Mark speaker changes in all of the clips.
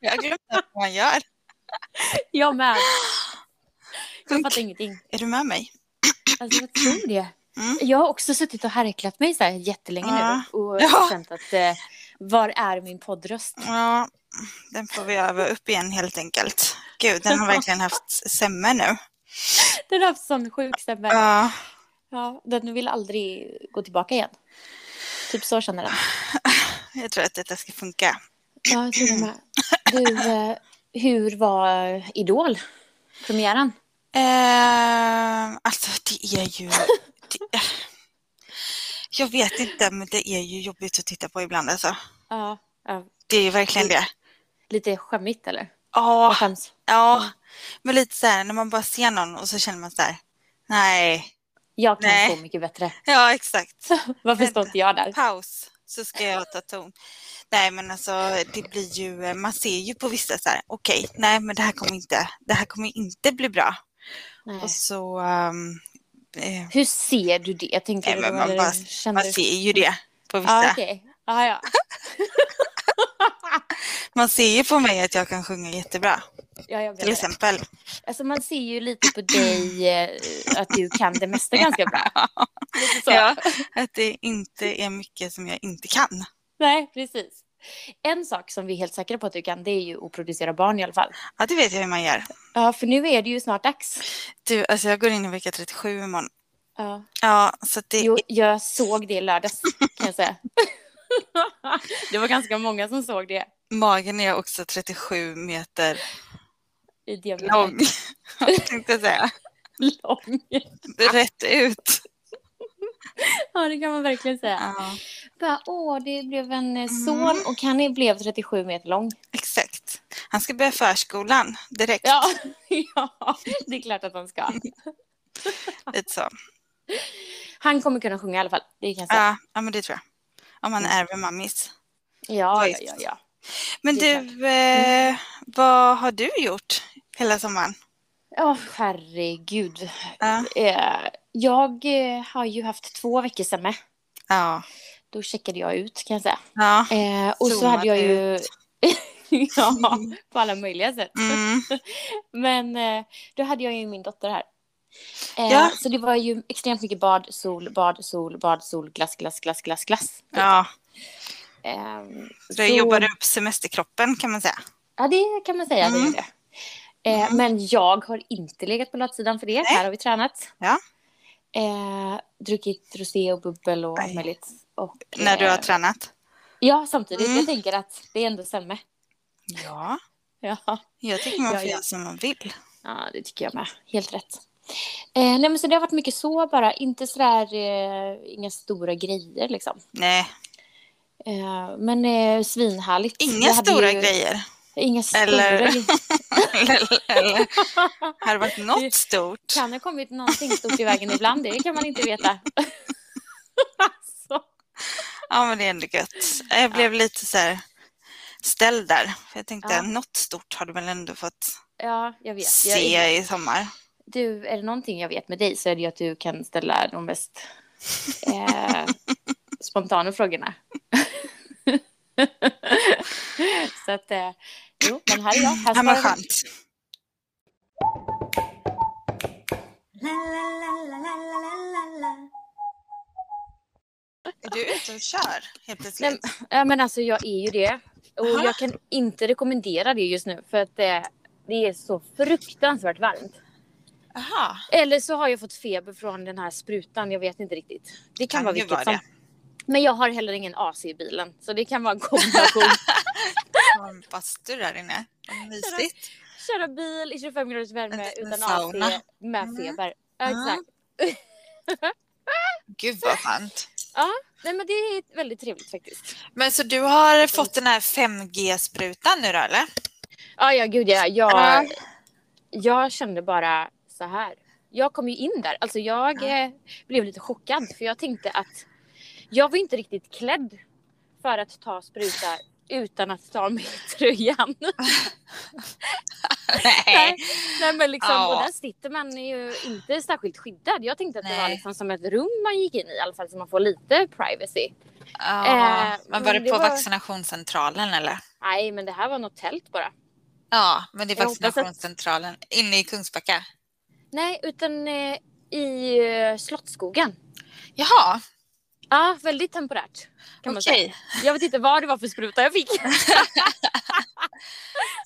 Speaker 1: Jag har glömt vad man gör.
Speaker 2: Jag med. Jag
Speaker 1: Sjukt.
Speaker 2: fattar ingenting.
Speaker 1: Är du med mig?
Speaker 2: Alltså, jag tror det.
Speaker 1: Mm.
Speaker 2: Jag har också suttit och härklat mig så här jättelänge
Speaker 1: Ja.
Speaker 2: nu och
Speaker 1: Ja.
Speaker 2: känt att eh, var är min poddröst?
Speaker 1: Ja, den får vi öva upp igen helt enkelt. Gud, den har verkligen haft sämre nu.
Speaker 2: Den har haft sån sjuk stämma.
Speaker 1: Ja,
Speaker 2: Ja, den vill aldrig gå tillbaka igen. Typ så känner den.
Speaker 1: jag tror att detta ska funka.
Speaker 2: Ja, jag tror det med. Du, eh, hur var Idol? Premiären?
Speaker 1: Eh, alltså, det är ju... Det, jag vet inte, men det är ju jobbigt att titta på ibland alltså.
Speaker 2: Ja. ja.
Speaker 1: Det är ju verkligen det.
Speaker 2: Lite skämmigt eller?
Speaker 1: Ja,
Speaker 2: Jag skäms.
Speaker 1: ja. Men lite så här, när man bara ser någon och så känner man så här, nej.
Speaker 2: Jag kan
Speaker 1: Nej.
Speaker 2: så mycket bättre.
Speaker 1: Ja, exakt.
Speaker 2: Varför står inte jag där?
Speaker 1: paus så ska jag ta ton. Nej men alltså det blir ju, man ser ju på vissa så här, okej, nej men det här kommer inte, det här kommer inte bli bra.
Speaker 2: Nej.
Speaker 1: Och så, ehm, eh,
Speaker 2: Hur ser du det? Tänker
Speaker 1: Nej,
Speaker 2: du
Speaker 1: men
Speaker 2: då,
Speaker 1: man
Speaker 2: eller
Speaker 1: bara-
Speaker 2: känner
Speaker 1: man
Speaker 2: du-
Speaker 1: ser ju det på vissa.
Speaker 2: Ja, okej. Ja, ja.
Speaker 1: Man ser ju på mig att jag kan sjunga jättebra,
Speaker 2: ja jag vet
Speaker 1: till
Speaker 2: det.
Speaker 1: exempel.
Speaker 2: Alltså, man ser ju lite på dig eh, att du kan det mesta ganska bra. Lite så.
Speaker 1: Ja. Att det inte är mycket som jag inte kan.
Speaker 2: Nej, precis. En sak som vi är helt säkra på att du kan, det är ju att producera barn i alla fall.
Speaker 1: Ja, det vet jag hur man gör.
Speaker 2: Ja, för nu är det ju snart dags.
Speaker 1: Du, alltså jag går in i vecka 37 imorgon.
Speaker 2: Ja.
Speaker 1: Ja, så att det,
Speaker 2: Jo, jag såg det i lördags, kan jag säga. det var ganska många som såg det
Speaker 1: magen är också 37 meter
Speaker 2: i diabetes.
Speaker 1: lång. tänkte jag säga.
Speaker 2: Lång.
Speaker 1: Rätt ut.
Speaker 2: Ja, det kan man verkligen säga.
Speaker 1: Ja.
Speaker 2: Bara, åh, det blev en eh,
Speaker 1: Mm.
Speaker 2: son och han blev 37 meter lång.
Speaker 1: Exakt. Han ska börja förskolan direkt.
Speaker 2: Ja, ja det är klart att han ska.
Speaker 1: Lite så.
Speaker 2: Han kommer kunna sjunga i alla fall, det kan jag säga.
Speaker 1: Ja, ja, men det tror jag. Om han ärver mammis.
Speaker 2: Ja, ja,
Speaker 1: visst.
Speaker 2: ja. ja.
Speaker 1: Men
Speaker 2: Det är
Speaker 1: du, eh, vad har du gjort hela sommaren?
Speaker 2: Ja, herregud.
Speaker 1: Ja.
Speaker 2: Eh, Jag eh, har ju haft två veckor semme.
Speaker 1: Ja.
Speaker 2: Då checkade jag ut kan jag säga.
Speaker 1: ja.
Speaker 2: Eh, och så
Speaker 1: Zoomade
Speaker 2: hade jag ju... ja, på alla möjliga sätt.
Speaker 1: Mm.
Speaker 2: Men eh, då hade jag ju min dotter här. Eh,
Speaker 1: Ja.
Speaker 2: Så det var ju extremt mycket bad, sol, bad, sol, bad, sol, glass, glass, glass, glass, glass.
Speaker 1: ja.
Speaker 2: Eh,
Speaker 1: Du jobbade upp semesterkroppen kan man säga.
Speaker 2: Ja, det kan man säga. Det är
Speaker 1: Mm.
Speaker 2: det. Eh, Men jag har inte legat på latsidan för det. Här har vi tränat.
Speaker 1: Ja.
Speaker 2: Eh, druckit rosé och bubbel och allt
Speaker 1: Aj.
Speaker 2: möjligt. Och,
Speaker 1: När du har
Speaker 2: eh,
Speaker 1: tränat.
Speaker 2: Ja, samtidigt.
Speaker 1: Mm.
Speaker 2: Jag tänker att det är ändå sämre.
Speaker 1: Ja.
Speaker 2: Ja.
Speaker 1: Jag tycker man
Speaker 2: Ja,
Speaker 1: får
Speaker 2: ja.
Speaker 1: göra som man vill.
Speaker 2: ja, det tycker jag med. Helt rätt. Eh, nej, men så det har varit mycket så bara. Inte sådär, eh, inga stora grejer liksom.
Speaker 1: Nej,
Speaker 2: Eh, men eh, svinhärligt.
Speaker 1: inga
Speaker 2: Jag hade
Speaker 1: stora
Speaker 2: ju-
Speaker 1: grejer.
Speaker 2: Inga stora
Speaker 1: Eller-
Speaker 2: grejer.
Speaker 1: eller, eller har det varit något stort?
Speaker 2: kan ha kommit någonting stort i vägen ibland. Det kan man inte veta. alltså.
Speaker 1: Ja, men det är ändå gött. Jag blev lite så här ställd där. För Jag tänkte,
Speaker 2: Ja.
Speaker 1: något stort har du väl ändå fått
Speaker 2: Ja, jag vet. Jag,
Speaker 1: se i sommar?
Speaker 2: Du, är det någonting jag vet med dig så är det ju att du kan ställa de mest eh, spontana frågorna. så att, eh, jo, men här är jag. Här
Speaker 1: Ja, men
Speaker 2: svarar jag.
Speaker 1: skönt. Är du ute och kör helt
Speaker 2: Nej,
Speaker 1: plötsligt?
Speaker 2: Ja, men alltså jag är ju det. Och
Speaker 1: Aha.
Speaker 2: jag kan inte rekommendera det just nu för att eh, det är så fruktansvärt varmt.
Speaker 1: Jaha,
Speaker 2: Eller så har jag fått feber från den här sprutan. Jag vet inte riktigt. Det kan
Speaker 1: Kan
Speaker 2: vara
Speaker 1: ju
Speaker 2: vilket
Speaker 1: vara
Speaker 2: som.
Speaker 1: det.
Speaker 2: Men jag har heller ingen AC i bilen. Så det kan vara en kombination.
Speaker 1: har en bastu där inne. Vad Mysigt.
Speaker 2: Köra bil i 25 graders
Speaker 1: En
Speaker 2: värme
Speaker 1: liten
Speaker 2: utan
Speaker 1: sauna.
Speaker 2: AC med
Speaker 1: Mm.
Speaker 2: feber. Ja,
Speaker 1: Mm.
Speaker 2: exakt.
Speaker 1: Gud vad skönt.
Speaker 2: Ja, nej, men det är väldigt trevligt faktiskt.
Speaker 1: Men så du har fått den här 5G-sprutan nu då eller?
Speaker 2: Ja, ja gud ja. Jag,
Speaker 1: Ja.
Speaker 2: jag kände bara så här. Jag kom ju in där. Alltså jag eh, blev lite chockad för jag tänkte att jag var inte riktigt klädd för att ta spruta utan att ta av mig tröjan.
Speaker 1: Nej.
Speaker 2: Nej men liksom,
Speaker 1: Ja.
Speaker 2: och där sitter man ju inte särskilt skyddad. Jag tänkte att det var
Speaker 1: Nej.
Speaker 2: liksom som ett rum man gick in i i alla fall så man får lite privacy.
Speaker 1: Ja.
Speaker 2: Eh,
Speaker 1: men var
Speaker 2: men
Speaker 1: det
Speaker 2: det
Speaker 1: på
Speaker 2: var-
Speaker 1: vaccinationscentralen eller?
Speaker 2: Nej men det här var något tält bara.
Speaker 1: Ja, men det är
Speaker 2: Jag hoppas att-
Speaker 1: vaccinationscentralen inne i Kungsbacka.
Speaker 2: Nej utan eh, i eh, Slottsskogen.
Speaker 1: Jaha,
Speaker 2: Ja väldigt temporärt. Kan man säga.
Speaker 1: okej.
Speaker 2: Jag vet inte vad det var för spruta jag fick.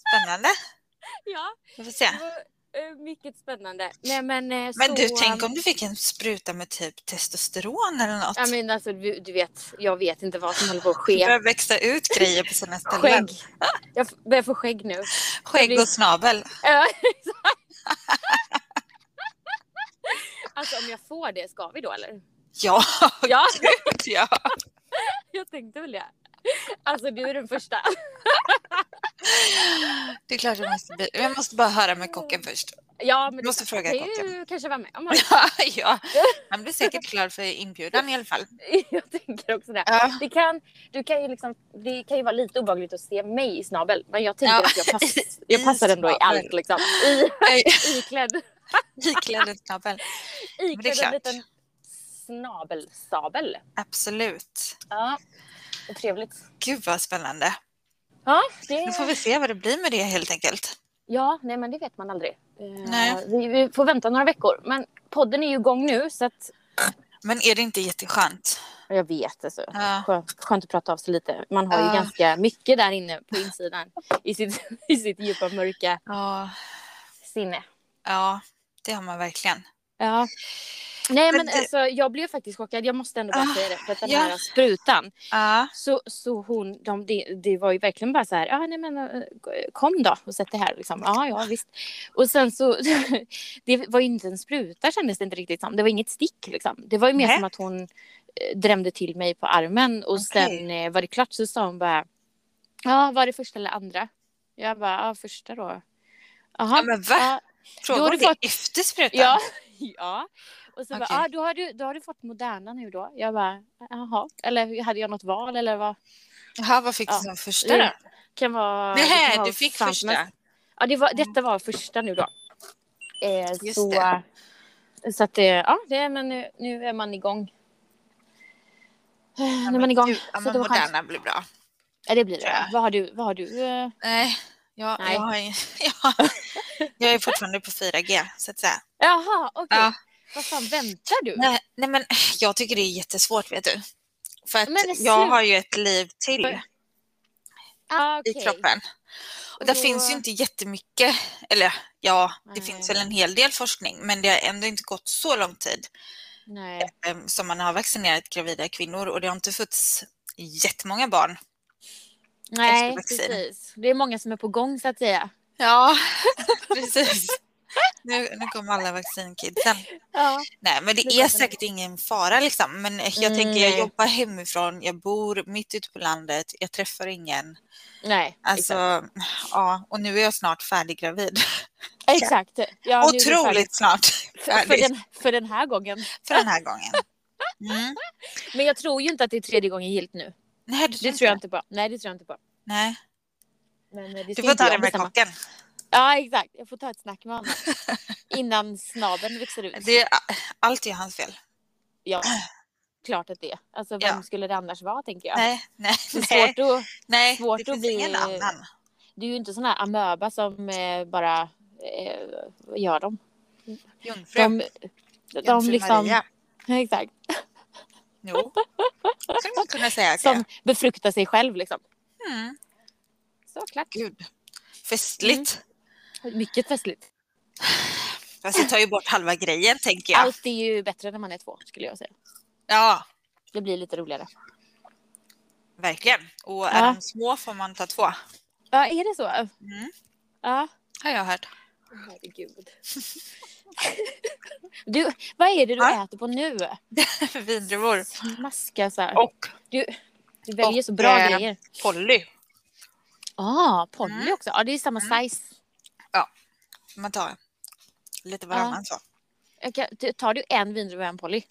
Speaker 1: Spännande.
Speaker 2: ja,
Speaker 1: Vi får se.
Speaker 2: det var eh, mycket spännande. Nej men eh,
Speaker 1: Men du,
Speaker 2: så,
Speaker 1: tänk om du fick en spruta med typ testosteron eller något.
Speaker 2: Ja men alltså du, du vet, jag vet inte vad som håller på att
Speaker 1: Det
Speaker 2: ske.
Speaker 1: börjar växa ut grejer på sina ställen.
Speaker 2: Skägg. Jag f- börjar få skägg nu.
Speaker 1: Skägg och snabel.
Speaker 2: Ja, exakt. alltså om jag får det, ska vi då eller?
Speaker 1: Ja,
Speaker 2: Ja,
Speaker 1: gud ja.
Speaker 2: jag tänkte väl det. Alltså du är den första.
Speaker 1: Det är klart jag måste bli. Jag måste bara höra med kocken först.
Speaker 2: Ja, men
Speaker 1: Du måste fråga
Speaker 2: kan ju kanske vara med om man-
Speaker 1: Ja, ja. Han blir säkert glad för inbjudan i alla fall.
Speaker 2: Jag tänker också det.
Speaker 1: Ja.
Speaker 2: Det kan, du kan ju liksom, det kan ju vara lite obehagligt att se mig i snabel. Men jag tänker
Speaker 1: Ja.
Speaker 2: att jag, pass, jag passar ändå i
Speaker 1: snabel.
Speaker 2: allt liksom. I,
Speaker 1: Nej,
Speaker 2: iklädd
Speaker 1: Iklädd en snabel. det är
Speaker 2: iklädd en
Speaker 1: klart.
Speaker 2: liten snabelsabel.
Speaker 1: Absolut.
Speaker 2: Ja, vad trevligt.
Speaker 1: Gud vad spännande.
Speaker 2: Ja,
Speaker 1: Nu
Speaker 2: det...
Speaker 1: får vi se vad det blir med det helt enkelt.
Speaker 2: Ja, nej men det vet man aldrig. Eh,
Speaker 1: Nej.
Speaker 2: Vi, vi får vänta några veckor. Men podden är ju igång nu så att...
Speaker 1: Men är det inte jätteskönt?
Speaker 2: Jag vet alltså.
Speaker 1: Ja.
Speaker 2: Skönt, skönt att prata av sig lite. Man har ju
Speaker 1: Ja.
Speaker 2: ganska mycket där inne på insidan. I sitt, I sitt djupa mörka
Speaker 1: Ja,
Speaker 2: sinne.
Speaker 1: ja det har man verkligen.
Speaker 2: Ja. Nej
Speaker 1: Men
Speaker 2: men
Speaker 1: det-
Speaker 2: alltså jag blev faktiskt chockad. Jag måste ändå bara
Speaker 1: Ah,
Speaker 2: säga det. För att den
Speaker 1: ja.
Speaker 2: här sprutan.
Speaker 1: Ja,
Speaker 2: Så, så hon, de, det, det var ju verkligen bara så här, ja nej men eh, kom då och sätt det här liksom. Ja, ja visst. Och sen så, det var ju inte en spruta kändes det inte riktigt som. Det var inget stick liksom. Det var ju mer
Speaker 1: Nej.
Speaker 2: som att hon eh, drämde till mig på armen och
Speaker 1: Okej.
Speaker 2: sen eh, var det klart så sa hon bara, ja var det första eller andra? Jag bara, ja första då. Jaha.
Speaker 1: Ja, men va?
Speaker 2: Ja,
Speaker 1: fråga
Speaker 2: Då har
Speaker 1: om
Speaker 2: du
Speaker 1: det
Speaker 2: fått-
Speaker 1: efter sprutan.
Speaker 2: Ja. ja. Och så
Speaker 1: Okej.
Speaker 2: bara, ah, då, har du, då har du fått Moderna nu då. Jag bara, jaha. Eller hade jag något val eller vad?
Speaker 1: Jaha, vad fick du
Speaker 2: Ja.
Speaker 1: som första då?
Speaker 2: kan vara... det kan
Speaker 1: Nej,
Speaker 2: vara
Speaker 1: du fick
Speaker 2: sant,
Speaker 1: första. Mm.
Speaker 2: men- Ja, det var, detta var första nu då. Eh,
Speaker 1: Just
Speaker 2: så,
Speaker 1: det.
Speaker 2: så att, eh, ja, det är, men nu, nu är man igång. Eh, nu är man
Speaker 1: men
Speaker 2: igång.
Speaker 1: gud, Ja,
Speaker 2: så
Speaker 1: men
Speaker 2: det, var skönt.
Speaker 1: Moderna blir bra.
Speaker 2: ja, det blir det.
Speaker 1: tror
Speaker 2: ja.
Speaker 1: jag.
Speaker 2: Vad har du? Vad har du eh,
Speaker 1: Nej, jag,
Speaker 2: Nej.
Speaker 1: Jag, har, ju- jag, jag är fortfarande på 4G så att säga.
Speaker 2: Jaha, okej.
Speaker 1: Ja.
Speaker 2: Vad fan väntar du?
Speaker 1: Nej, nej, men jag tycker det är jättesvårt vet du. För att
Speaker 2: Men
Speaker 1: jag
Speaker 2: sluta.
Speaker 1: har ju ett liv till
Speaker 2: Ah, okej.
Speaker 1: i kroppen. Och där
Speaker 2: Då-
Speaker 1: finns ju inte jättemycket, eller ja, det
Speaker 2: Nej.
Speaker 1: finns väl en hel del forskning, men det har ändå inte gått så lång tid
Speaker 2: Nej.
Speaker 1: eh, som man har vaccinerat gravida kvinnor och det har inte fötts jättemånga barn.
Speaker 2: Nej,
Speaker 1: vaccin.
Speaker 2: precis. Det är många som är på gång så att säga.
Speaker 1: Ja, precis. Nu, nu kommer alla vaccinkidsen.
Speaker 2: Ja.
Speaker 1: Nej, men det
Speaker 2: Lite
Speaker 1: är
Speaker 2: så.
Speaker 1: säkert ingen fara liksom. Men jag
Speaker 2: Mm,
Speaker 1: tänker, jag
Speaker 2: nej.
Speaker 1: jobbar hemifrån, jag bor mitt ute på landet, jag träffar ingen.
Speaker 2: Nej,
Speaker 1: Alltså,
Speaker 2: exakt.
Speaker 1: ja, och nu är jag snart färdiggravid.
Speaker 2: Exakt. Ja, nu är du färdig.
Speaker 1: Otroligt snart
Speaker 2: För, för,
Speaker 1: färdig
Speaker 2: den, för den här gången.
Speaker 1: för den här gången. Mm.
Speaker 2: Men jag tror ju inte att det är tredje gången gilt nu.
Speaker 1: Nej, du
Speaker 2: Det tror jag inte på. Nej, det tror jag inte på.
Speaker 1: Nej,
Speaker 2: Men eh, det
Speaker 1: du
Speaker 2: ska
Speaker 1: får
Speaker 2: inte
Speaker 1: ta
Speaker 2: jag
Speaker 1: det med
Speaker 2: bestämma.
Speaker 1: kocken.
Speaker 2: Ja, exakt. Jag får ta ett snack med honom. Innan snabeln växer ut.
Speaker 1: Det är, allt är hans fel.
Speaker 2: Ja, klart att det är. Alltså, vem
Speaker 1: Ja.
Speaker 2: skulle det annars vara, tänker jag?
Speaker 1: Nej, nej,
Speaker 2: Det är
Speaker 1: nej.
Speaker 2: svårt att...
Speaker 1: nej.
Speaker 2: svårt
Speaker 1: det
Speaker 2: att
Speaker 1: finns
Speaker 2: bli-
Speaker 1: ingen annan.
Speaker 2: Du är ju inte sån här amöba som eh, bara... Eh, vad gör de?
Speaker 1: Jungfru.
Speaker 2: De, de,
Speaker 1: Jungfru
Speaker 2: liksom...
Speaker 1: Maria.
Speaker 2: Exakt.
Speaker 1: Jo, skulle man kunna säga.
Speaker 2: Som
Speaker 1: Som...
Speaker 2: befruktar sig själv, liksom.
Speaker 1: Mm.
Speaker 2: Så, klart.
Speaker 1: Gud, festligt.
Speaker 2: Mm. Mycket festligt.
Speaker 1: Fast det tar ju bort halva grejen tänker jag.
Speaker 2: Allt är ju bättre när man är två, skulle jag säga.
Speaker 1: Ja,
Speaker 2: Det blir lite roligare.
Speaker 1: verkligen. Och är
Speaker 2: Ja.
Speaker 1: de små får man ta två.
Speaker 2: Ja, är det så?
Speaker 1: Mm.
Speaker 2: Ja.
Speaker 1: Har jag hört.
Speaker 2: Herregud. Du, vad är det du
Speaker 1: Ja.
Speaker 2: äter på nu?
Speaker 1: Vindruvor.
Speaker 2: Maska så här.
Speaker 1: Och
Speaker 2: Du väljer så
Speaker 1: och,
Speaker 2: bra
Speaker 1: eh,
Speaker 2: grejer.
Speaker 1: Polly.
Speaker 2: Ah, Polly
Speaker 1: mm.
Speaker 2: också. Ja, det är samma size.
Speaker 1: Man tar lite varannan så.
Speaker 2: Okej, du- Tar du en vindruva och en Polly?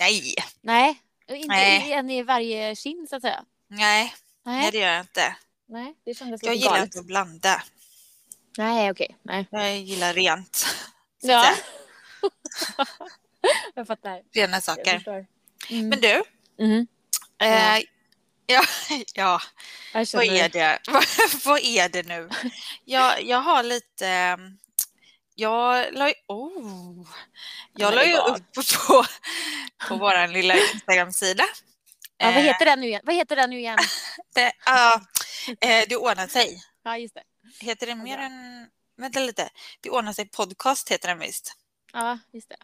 Speaker 1: Nej,
Speaker 2: Nej, och inte
Speaker 1: Nej.
Speaker 2: en i varje kind så att säga.
Speaker 1: nej, nej
Speaker 2: Nej,
Speaker 1: det gör jag inte.
Speaker 2: nej det kändes
Speaker 1: Jag
Speaker 2: lite
Speaker 1: gillar
Speaker 2: galet.
Speaker 1: inte att blanda.
Speaker 2: Nej, okej. Nej.
Speaker 1: Jag gillar rent. så att
Speaker 2: Ja.
Speaker 1: säga.
Speaker 2: jag fattar.
Speaker 1: Rena
Speaker 2: Jag
Speaker 1: saker.
Speaker 2: förstår. Mm.
Speaker 1: Men du.
Speaker 2: Mm.
Speaker 1: Eh, ja, ja,
Speaker 2: Jag
Speaker 1: vad
Speaker 2: känner...
Speaker 1: är det? vad är det nu? Jag, jag har lite... eh, Jag la ju... Oh, jag
Speaker 2: Men
Speaker 1: la ju
Speaker 2: vad?
Speaker 1: upp på, på vår lilla Instagram-sida.
Speaker 2: Ja, vad
Speaker 1: Eh,
Speaker 2: heter den nu igen? Vad heter den nu igen?
Speaker 1: det? Ja, eh, det ordnar sig.
Speaker 2: Ja, just det.
Speaker 1: Heter det
Speaker 2: Vad
Speaker 1: mer
Speaker 2: bra.
Speaker 1: än... Vänta lite. Det ordnar sig podcast heter den visst.
Speaker 2: Ja, just det.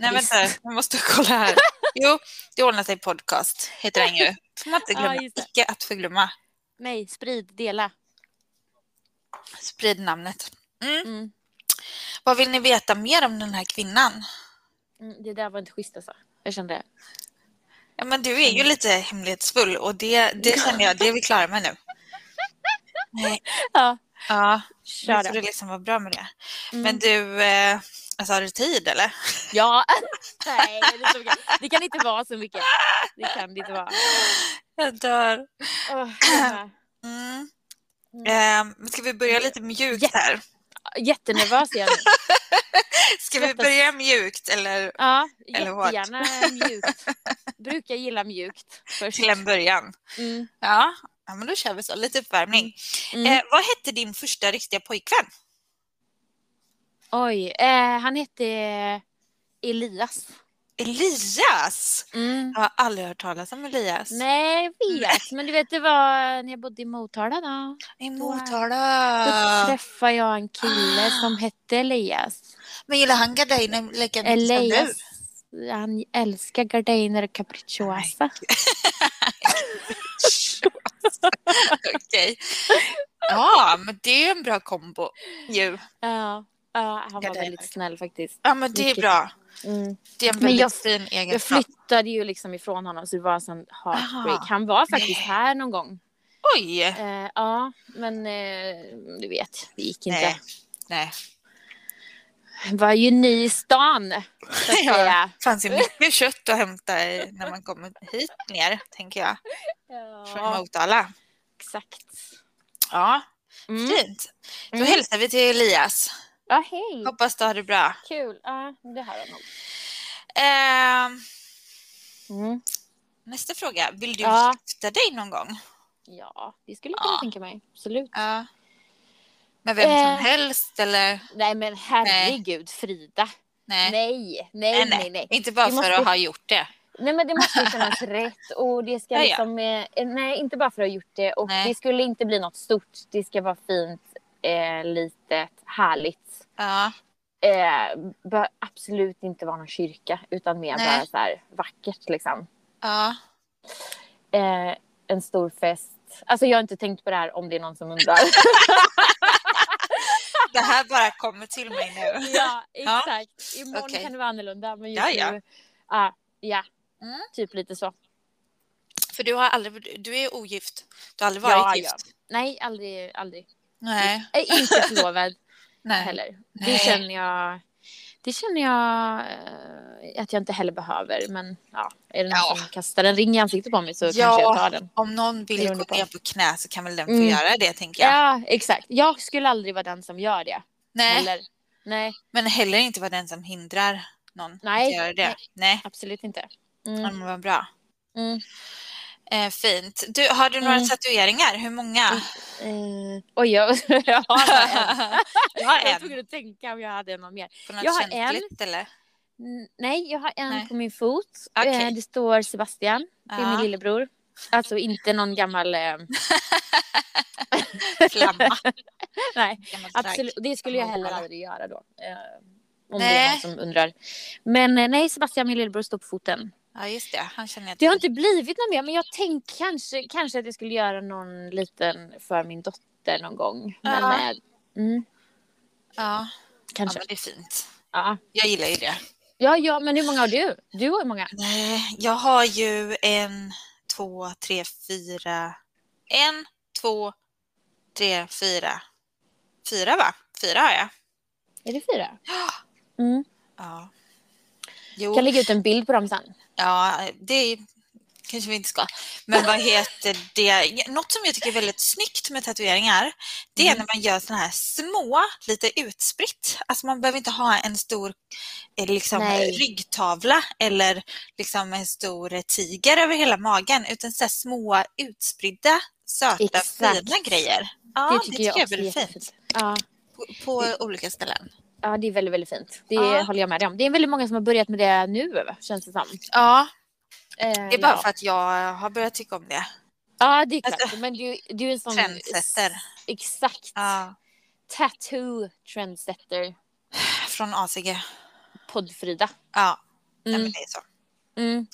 Speaker 1: Nej
Speaker 2: Visst.
Speaker 1: vänta, jag måste kolla här. Jo, det ordnar sig podcast heter den ju. Får man inte
Speaker 2: Ja,
Speaker 1: glömma.
Speaker 2: just det.
Speaker 1: Icke att förglömma.
Speaker 2: Nej, sprid, dela.
Speaker 1: Sprid namnet. Mm.
Speaker 2: Mm.
Speaker 1: Vad vill ni veta mer om den här kvinnan?
Speaker 2: Mm, det där var inte schysst alltså. Jag kände det.
Speaker 1: Ja, men du är
Speaker 2: Mm.
Speaker 1: ju lite hemlighetsfull och det, det känner jag, det är vi klara med nu. Nej,
Speaker 2: Ja,
Speaker 1: ja, nu får
Speaker 2: kör då.
Speaker 1: du liksom vara bra med det.
Speaker 2: Mm.
Speaker 1: Men du, eh, alltså har du tid eller?
Speaker 2: Ja. Nej, det, är så mycket. det kan inte vara så mycket. Det kan det inte vara.
Speaker 1: Jag dör.
Speaker 2: Åh, jag
Speaker 1: Mm.
Speaker 2: Mm.
Speaker 1: Eh, men ska vi börja lite mjukt
Speaker 2: Jätte-
Speaker 1: här?
Speaker 2: är Jättenervös är jag nu.
Speaker 1: Ska vi börja mjukt eller
Speaker 2: Ja,
Speaker 1: Eller hårt.
Speaker 2: jättegärna mjukt. Brukar gilla mjukt först.
Speaker 1: till en början?
Speaker 2: Mm.
Speaker 1: Ja, ja men då kör vi så. Lite uppvärmning.
Speaker 2: Mm.
Speaker 1: Eh, vad hette din första riktiga pojkvän?
Speaker 2: Oj, eh, han hette Elias.
Speaker 1: Elias!
Speaker 2: Mm.
Speaker 1: Jag har aldrig hört talas om Elias.
Speaker 2: Nej, jag vet. Men du vet, det var när jag bodde i Motala då.
Speaker 1: I
Speaker 2: Då
Speaker 1: Motala.
Speaker 2: träffade jag en kille som hette Elias.
Speaker 1: Men gillar han gardiner lika mycket som du?
Speaker 2: Elias, han älskar gardiner och capricciosa.
Speaker 1: Okej. Ja, men det är ju en bra kombo. ju.
Speaker 2: Ja, ja, han var
Speaker 1: Gardiner.
Speaker 2: väldigt snäll faktiskt.
Speaker 1: Ja, men det är
Speaker 2: Mycket.
Speaker 1: bra.
Speaker 2: Mm.
Speaker 1: Det är en
Speaker 2: Men
Speaker 1: väldigt
Speaker 2: jag-
Speaker 1: fin
Speaker 2: Jag
Speaker 1: egenskap.
Speaker 2: flyttade ju liksom ifrån honom så det var en sån heartbreak.
Speaker 1: Aha.
Speaker 2: Han var faktiskt här någon gång.
Speaker 1: Oj!
Speaker 2: Eh, ja, men eh, du vet, det gick inte.
Speaker 1: Nej. Nej.
Speaker 2: var ju ny i stan, så att
Speaker 1: Ja.
Speaker 2: säga.
Speaker 1: Det fanns ju mycket kött att hämta i- när man kommer hit ner, tänker jag. Från
Speaker 2: Ja,
Speaker 1: Motala.
Speaker 2: exakt.
Speaker 1: Ja,
Speaker 2: Mm.
Speaker 1: fint. Då
Speaker 2: Mm.
Speaker 1: hälsar vi till Elias.
Speaker 2: Ja, hej.
Speaker 1: Hoppas du har det bra.
Speaker 2: Kul. Ja, det här var nog.
Speaker 1: Ehm,
Speaker 2: Mm.
Speaker 1: nästa fråga. Vill du
Speaker 2: Ja.
Speaker 1: gifta dig någon gång?
Speaker 2: Ja, det skulle jag kunna
Speaker 1: Ja.
Speaker 2: tänka mig. Absolut.
Speaker 1: Ja. Med vem
Speaker 2: Eh.
Speaker 1: som helst eller?
Speaker 2: Nej, men herregud, Frida.
Speaker 1: Nej.
Speaker 2: Nej,
Speaker 1: Nej,
Speaker 2: nej,
Speaker 1: nej.
Speaker 2: nej, nej.
Speaker 1: Inte bara
Speaker 2: Vi
Speaker 1: för
Speaker 2: måste-
Speaker 1: att ha gjort det.
Speaker 2: Nej, men det måste ju kännas rätt. Och det ska
Speaker 1: Ja, ja.
Speaker 2: liksom... eh, Nej, inte bara för att ha gjort det. Och
Speaker 1: Nej.
Speaker 2: det skulle inte bli något stort. Det ska vara fint, eh, litet, härligt.
Speaker 1: Ja.
Speaker 2: Eh, bör absolut inte vara någon kyrka, utan mer
Speaker 1: Nej.
Speaker 2: bara så här vackert liksom.
Speaker 1: ja.
Speaker 2: eh, en stor fest. Alltså jag har inte tänkt på det här om det är någon som undrar.
Speaker 1: Det här bara kommer till mig nu.
Speaker 2: ja, exakt. Imorgon
Speaker 1: okej.
Speaker 2: kan det vara annorlunda. Men
Speaker 1: Ja,
Speaker 2: just
Speaker 1: ja.
Speaker 2: nu, ja, ja.
Speaker 1: Mm.
Speaker 2: Typ lite så.
Speaker 1: För du har aldrig, du är ogift. Du har aldrig varit
Speaker 2: Ja,
Speaker 1: gift.
Speaker 2: Nej, aldrig, aldrig.
Speaker 1: Nej.
Speaker 2: Äh, inte förlovad
Speaker 1: Nej.
Speaker 2: heller.
Speaker 1: Nej.
Speaker 2: Det känner jag, det känner jag eh, att jag inte heller behöver. Men ja, är det någon
Speaker 1: Ja.
Speaker 2: som kastar en ring i ansiktet på mig så
Speaker 1: Ja.
Speaker 2: kanske jag tar den.
Speaker 1: Om någon vill
Speaker 2: Beroende
Speaker 1: gå
Speaker 2: på.
Speaker 1: ner på knä så kan väl den få
Speaker 2: Mm.
Speaker 1: göra det tänker
Speaker 2: Ja.
Speaker 1: jag.
Speaker 2: exakt. Jag skulle aldrig vara den som gör det.
Speaker 1: Nej,
Speaker 2: Heller. Nej,
Speaker 1: men heller inte vara den som hindrar någon
Speaker 2: Nej,
Speaker 1: att göra det. Nej,
Speaker 2: nej. absolut inte. Mm.
Speaker 1: Mm, vad bra.
Speaker 2: Mm.
Speaker 1: Eh, fint. Du, har du några
Speaker 2: Mm.
Speaker 1: tatueringar? Hur många?
Speaker 2: Eh, oj, jag, jag har bara en.
Speaker 1: jag
Speaker 2: Jag
Speaker 1: har
Speaker 2: var
Speaker 1: en.
Speaker 2: tvungen att tänka om jag hade någon mer.
Speaker 1: På något
Speaker 2: Jag har
Speaker 1: känsligt eller?
Speaker 2: Mm, Nej, jag har en
Speaker 1: Nej.
Speaker 2: på min fot.
Speaker 1: Okej.
Speaker 2: Eh, det står Sebastian. Det är
Speaker 1: Ja.
Speaker 2: min lillebror. Alltså inte någon gammal... Eh,
Speaker 1: Flamma.
Speaker 2: nej,
Speaker 1: Gammal flagg.
Speaker 2: absolut. Det skulle jag heller
Speaker 1: Gammal.
Speaker 2: aldrig göra då. Eh, om det
Speaker 1: Nej.
Speaker 2: är någon som undrar. Men eh, nej, Sebastian, min lillebror, står på foten.
Speaker 1: Ja, just det. Han känner jag
Speaker 2: Det har
Speaker 1: till.
Speaker 2: inte blivit någon mer, men jag tänkte kanske, kanske att jag skulle göra någon liten för min dotter någon gång. Men,
Speaker 1: Ja.
Speaker 2: eh, mm,
Speaker 1: Ja. ja,
Speaker 2: kanske.
Speaker 1: men det är fint.
Speaker 2: Ja.
Speaker 1: Jag gillar ju det.
Speaker 2: Ja, ja, men hur många har du? Du har hur många?
Speaker 1: Nej, jag har ju en, två, tre, fyra. En, två, tre, fyra. Fyra va? Fyra har jag.
Speaker 2: Är det fyra? Mm.
Speaker 1: Ja.
Speaker 2: Jag
Speaker 1: Jo,
Speaker 2: kan lägga ut en bild på dem sen.
Speaker 1: ja, det kanske vi inte ska. Men vad heter det? Något som jag tycker är väldigt snyggt med tatueringar, det är
Speaker 2: Mm.
Speaker 1: när man gör såna här små, lite utspritt. Alltså man behöver inte ha en stor eh, liksom,
Speaker 2: Nej.
Speaker 1: ryggtavla eller liksom en stor eh, tiger över hela magen, utan så här små utspridda, söta,
Speaker 2: Exakt.
Speaker 1: fina grejer. Ja, det tycker jag,
Speaker 2: också
Speaker 1: är väldigt
Speaker 2: är
Speaker 1: fint.
Speaker 2: Ja.
Speaker 1: På, på olika ställen.
Speaker 2: ja, det är väldigt, väldigt fint. Det
Speaker 1: Ja.
Speaker 2: håller jag med dig om. Det är väldigt många som har börjat med det nu, känns det som.
Speaker 1: Ja,
Speaker 2: Eh,
Speaker 1: det är bara
Speaker 2: ja.
Speaker 1: för att jag har börjat tycka om det.
Speaker 2: Ja, det är klart.
Speaker 1: Alltså,
Speaker 2: men du, du är en sån...
Speaker 1: Trendsetter.
Speaker 2: Exakt.
Speaker 1: Ja,
Speaker 2: Tattoo trendsetter.
Speaker 1: från ACG.
Speaker 2: Poddfrida.
Speaker 1: Ja, nej,
Speaker 2: Mm.
Speaker 1: men det är så.
Speaker 2: Mm.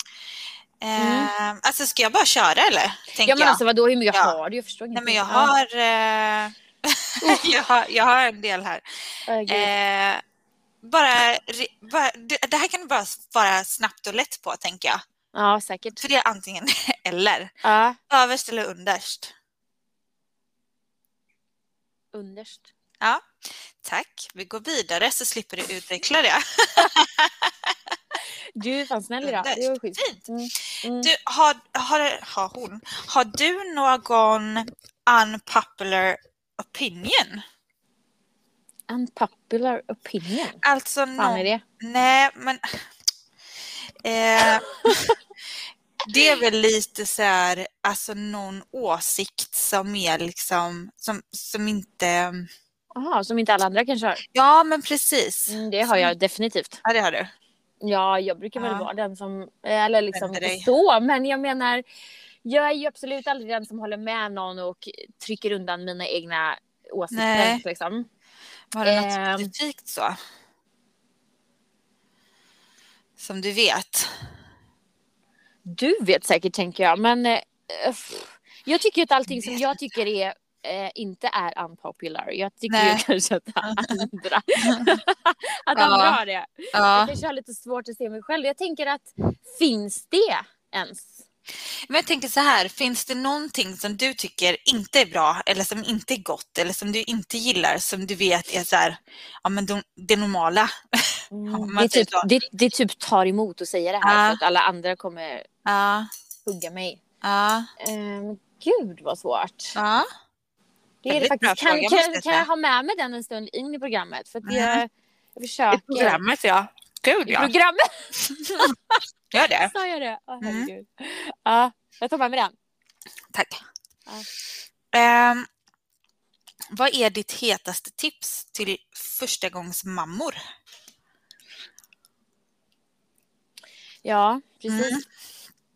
Speaker 1: Ehm, alltså ska jag bara köra eller? Tänker
Speaker 2: Ja, men
Speaker 1: jag.
Speaker 2: alltså vadå, hur mycket
Speaker 1: Ja.
Speaker 2: har du? Jag förstår
Speaker 1: Nej men
Speaker 2: ingenting.
Speaker 1: jag
Speaker 2: Ja.
Speaker 1: har, eh, jag har, jag har en del här.
Speaker 2: Ja, gud.
Speaker 1: Eh, bara, re- bara, det det här kan du bara svara snabbt och lätt på tänker jag.
Speaker 2: ja, säkert.
Speaker 1: För det är antingen eller.
Speaker 2: Ja,
Speaker 1: Överst eller underst?
Speaker 2: underst.
Speaker 1: Tack, vi går vidare så slipper du utveckla det.
Speaker 2: Mm. Du är fan snäll idag. Det var
Speaker 1: Underst,
Speaker 2: skit.
Speaker 1: fint.
Speaker 2: Mm. Mm.
Speaker 1: Du, har, har, har hon, har du någon unpopular opinion?
Speaker 2: Unpopular opinion.
Speaker 1: Alltså
Speaker 2: Fan är
Speaker 1: någon
Speaker 2: det?
Speaker 1: Nej, men... Eh, det är väl lite så här, alltså någon åsikt som är liksom, som, som inte...
Speaker 2: Jaha, som inte alla andra kanske har.
Speaker 1: Ja, men precis.
Speaker 2: Mm, det har jag definitivt.
Speaker 1: Ja, det har du.
Speaker 2: Ja, jag brukar väl
Speaker 1: Ja.
Speaker 2: vara den som, eller liksom
Speaker 1: Vänder dig.
Speaker 2: inte så, men jag menar, jag är ju absolut aldrig den som håller med någon och trycker undan mina egna åsikter.
Speaker 1: Nej.
Speaker 2: Liksom.
Speaker 1: Har du
Speaker 2: Ehm.
Speaker 1: något specifikt så? Som du vet?
Speaker 2: Du vet säkert tänker jag, men eh, pff, jag tycker att allting som
Speaker 1: Vet
Speaker 2: jag tycker är eh, inte är unpopular. Jag tycker
Speaker 1: Nej.
Speaker 2: ju kanske att andra, att
Speaker 1: Ja.
Speaker 2: andra har det. Jag
Speaker 1: Ja.
Speaker 2: kanske har lite svårt att se mig själv. Jag tänker att finns det ens?
Speaker 1: Men jag tänker så här, finns det någonting som du tycker inte är bra eller som inte är gott eller som du inte gillar som du vet är så här, ja men de, det normala? men
Speaker 2: det, är
Speaker 1: typ
Speaker 2: typ,
Speaker 1: så.
Speaker 2: det, det typ tar emot att säga det här
Speaker 1: Ja.
Speaker 2: för att alla andra kommer
Speaker 1: Ja,
Speaker 2: hugga mig.
Speaker 1: ja,
Speaker 2: Ehm, gud vad svårt.
Speaker 1: ja.
Speaker 2: Det är det
Speaker 1: Väldigt bra
Speaker 2: faktiskt. Kan,
Speaker 1: fråga, måste
Speaker 2: kan,
Speaker 1: jag
Speaker 2: jag- kan
Speaker 1: säga.
Speaker 2: jag ha med mig den en stund in i programmet? För att
Speaker 1: Mhm.
Speaker 2: jag, jag försöker.
Speaker 1: ja. Gud
Speaker 2: I
Speaker 1: ja.
Speaker 2: programmet
Speaker 1: Gör det.
Speaker 2: sa jag det. Åh,
Speaker 1: Mm.
Speaker 2: herregud. Ja, jag tar med mig den.
Speaker 1: Tack.
Speaker 2: Ja.
Speaker 1: Ehm, vad är ditt hetaste tips till förstagångsmammor?
Speaker 2: Ja, precis.
Speaker 1: Mm.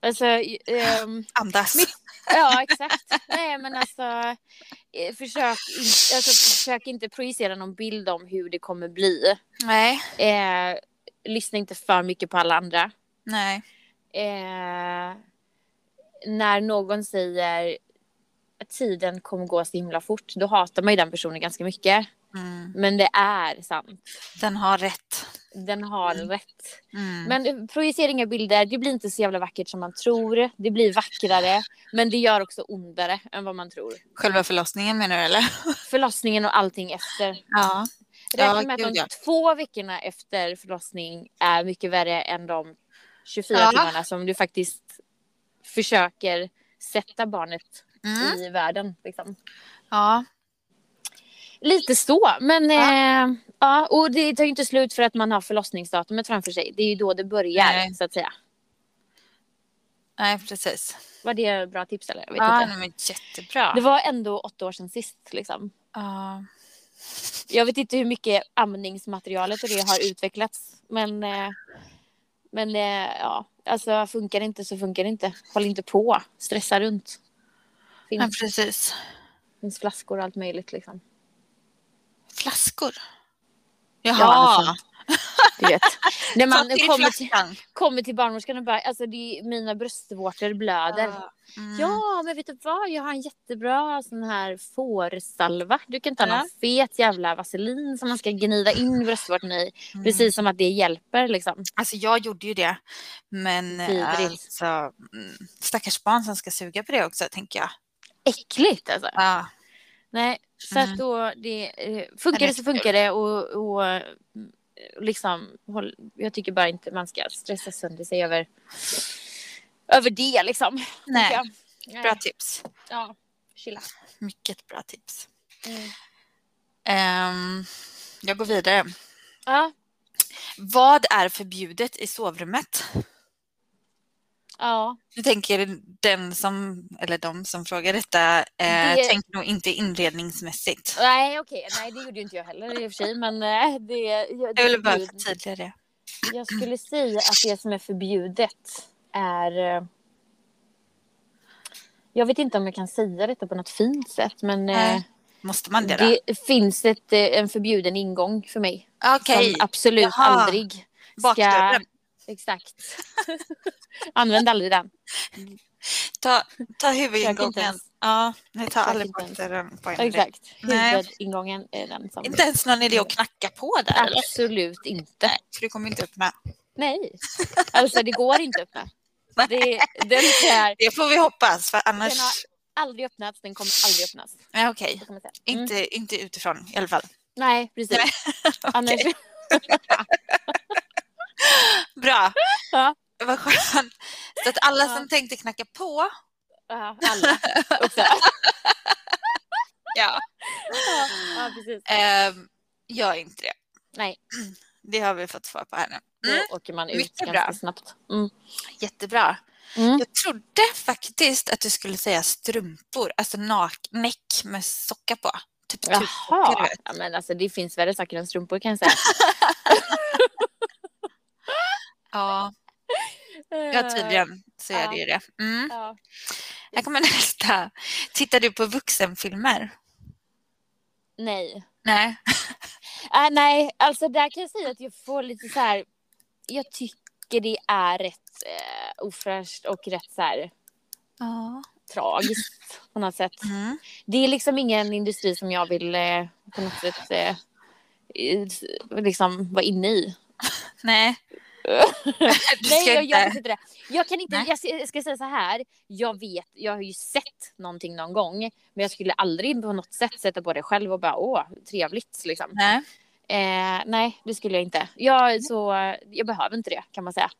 Speaker 2: Alltså, ehm,
Speaker 1: Andas.
Speaker 2: Mitt- ja, exakt. Nej, men alltså, eh, försök, in- alltså, försök inte projicera någon bild om hur det kommer bli.
Speaker 1: Nej.
Speaker 2: Eh, lyssna inte för mycket på alla andra.
Speaker 1: Nej.
Speaker 2: Eh, när någon säger att tiden kommer gå så himla fort, då hatar man ju den personen ganska mycket.
Speaker 1: Mm.
Speaker 2: Men det är sant.
Speaker 1: Den har rätt.
Speaker 2: Den har
Speaker 1: Mm.
Speaker 2: rätt.
Speaker 1: Mm.
Speaker 2: Men eh, projicering av bilder, det blir inte så jävla vackert som man tror. Det blir vackrare, men det gör också ondare än vad man tror.
Speaker 1: Själva förlossningen menar du eller?
Speaker 2: Förlossningen och allting efter.
Speaker 1: Ja.
Speaker 2: Räkna
Speaker 1: Ja,
Speaker 2: med
Speaker 1: gud,
Speaker 2: att de
Speaker 1: ja.
Speaker 2: två veckorna efter förlossning är mycket värre än de 24
Speaker 1: Ja.
Speaker 2: timmarna som du faktiskt försöker sätta barnet
Speaker 1: Mm.
Speaker 2: i världen. Liksom.
Speaker 1: Ja.
Speaker 2: Lite så, men
Speaker 1: Ja.
Speaker 2: ja. Eh, ja, och det tar ju inte slut för att man har förlossningsdatumet framför sig. Det är ju då det börjar,
Speaker 1: Nej.
Speaker 2: så att säga.
Speaker 1: Nej, precis.
Speaker 2: Var det bra tips eller? Jag vet
Speaker 1: Ja,
Speaker 2: inte.
Speaker 1: nej, men jättebra.
Speaker 2: Det var ändå åtta år sedan sist. Liksom.
Speaker 1: Ja.
Speaker 2: Jag vet inte hur mycket amningsmaterialet och det har utvecklats. Men, eh, men eh, ja, alltså funkar det inte så funkar det inte. Håll inte på. Stressa runt.
Speaker 1: ja,
Speaker 2: Finns,
Speaker 1: precis.
Speaker 2: finns flaskor och allt möjligt liksom.
Speaker 1: Flaskor. Jaha.
Speaker 2: alltså, Du vet. När man
Speaker 1: Satt i
Speaker 2: kommer till,
Speaker 1: flaskan.
Speaker 2: kommer till barnmorskan och bara, alltså det är, mina bröstvårtor blöder.
Speaker 1: Mm.
Speaker 2: Ja, men vet du vad? Jag har en jättebra sån här fårsalva. Du kan ta
Speaker 1: Ja.
Speaker 2: någon fet jävla vaselin som man ska gnida in bröstvårtan i.
Speaker 1: Mm.
Speaker 2: Precis som att det hjälper liksom.
Speaker 1: Alltså jag gjorde ju det. Men eh,
Speaker 2: Vidrigt.
Speaker 1: alltså, mm, stackars barn som ska suga på det också tänker jag.
Speaker 2: Äckligt alltså.
Speaker 1: Ja,
Speaker 2: Nej, så
Speaker 1: Mm.
Speaker 2: att då det, eh, funkar
Speaker 1: Nej,
Speaker 2: det så funkar det och, och eh, liksom, håll, jag tycker bara inte man ska stressa sönder sig över över det liksom.
Speaker 1: Nej,
Speaker 2: Ja.
Speaker 1: bra tips.
Speaker 2: Ja, chilla.
Speaker 1: Mycket bra tips.
Speaker 2: Mm.
Speaker 1: Ehm, jag går vidare.
Speaker 2: Ja,
Speaker 1: Vad är förbjudet i sovrummet?
Speaker 2: ja.
Speaker 1: Nu tänker den som, eller de som frågar detta, eh,
Speaker 2: Det-
Speaker 1: tänker nog inte inredningsmässigt.
Speaker 2: Nej, okej. Nej, det gjorde ju inte jag heller i och för sig. Men eh, det... Jag,
Speaker 1: Jag vill bara
Speaker 2: det-
Speaker 1: förtydliga det.
Speaker 2: jag skulle säga att det som är förbjudet är... eh, Jag vet inte om jag kan säga detta på något fint sätt, men eh,
Speaker 1: Nej, Måste man det, då?
Speaker 2: det finns ett, eh, en förbjuden ingång för mig.
Speaker 1: Okej,
Speaker 2: Som absolut
Speaker 1: Jaha.
Speaker 2: aldrig ska...
Speaker 1: bakdörren.
Speaker 2: Exakt. Använd aldrig den.
Speaker 1: Ta, ta
Speaker 2: Försök inte
Speaker 1: huvudingången.
Speaker 2: ens.
Speaker 1: Ja, nu tar alla
Speaker 2: inte ens.
Speaker 1: bakdörren på en gång.
Speaker 2: Exakt.
Speaker 1: Nej.
Speaker 2: Huvudingången är den som...
Speaker 1: Inte ens någon idé att knacka på där eller?
Speaker 2: Absolut inte.
Speaker 1: Nej, för du kommer inte upp med.
Speaker 2: Nej. Alltså det går inte att öppna. Det, den är
Speaker 1: Det får vi hoppas för annars...
Speaker 2: Den har- aldrig öppnats, den kommer aldrig öppnas.
Speaker 1: Nej, okej.
Speaker 2: Så kan man säga. Mm.
Speaker 1: Inte, inte utifrån i alla fall.
Speaker 2: Nej, precis.
Speaker 1: Nej,
Speaker 2: Annars,
Speaker 1: Bra.
Speaker 2: Ja.
Speaker 1: Vad skönt. Så att alla
Speaker 2: Ja.
Speaker 1: som tänkte knacka på.
Speaker 2: ja, alla också.
Speaker 1: Ja.
Speaker 2: Ja, ja, precis.
Speaker 1: ehm, gör inte det.
Speaker 2: Nej.
Speaker 1: Det har vi fått svar på här nu.
Speaker 2: Då åker man ut
Speaker 1: Mm. Mycket
Speaker 2: ganska
Speaker 1: bra.
Speaker 2: snabbt. Mm.
Speaker 1: Jättebra.
Speaker 2: Mm.
Speaker 1: Jag trodde faktiskt att du skulle säga strumpor. Alltså nak- näck med socka på. Typ tutsockor, du
Speaker 2: Jaha,
Speaker 1: vet.
Speaker 2: ja, men alltså det finns värre saker än strumpor kan jag säga.
Speaker 1: Ja, ja tydligen så är det ju det. Mm.
Speaker 2: Ja.
Speaker 1: Här kommer nästa. Tittar du på vuxenfilmer?
Speaker 2: Nej.
Speaker 1: Nej.
Speaker 2: Äh, nej, alltså där kan jag säga att jag får lite så här. Jag tycker det är rätt eh, ofräscht och rätt så här
Speaker 1: Ja.
Speaker 2: tragiskt på något sätt.
Speaker 1: Mm.
Speaker 2: Det är liksom ingen industri som jag vill eh, på något sätt eh, i- liksom vara inne i.
Speaker 1: Nej. du ska
Speaker 2: Nej, jag, jag vet
Speaker 1: inte.
Speaker 2: inte det. Jag kan inte,
Speaker 1: Nej.
Speaker 2: jag ska, jag ska säga så här. Jag vet, jag har ju sett någonting någon gång, men jag skulle aldrig på något sätt sätta på det själv och bara åh, trevligt liksom.
Speaker 1: Nej.
Speaker 2: Eh, nej, det skulle jag inte. Jag, är så, jag behöver inte det kan man säga.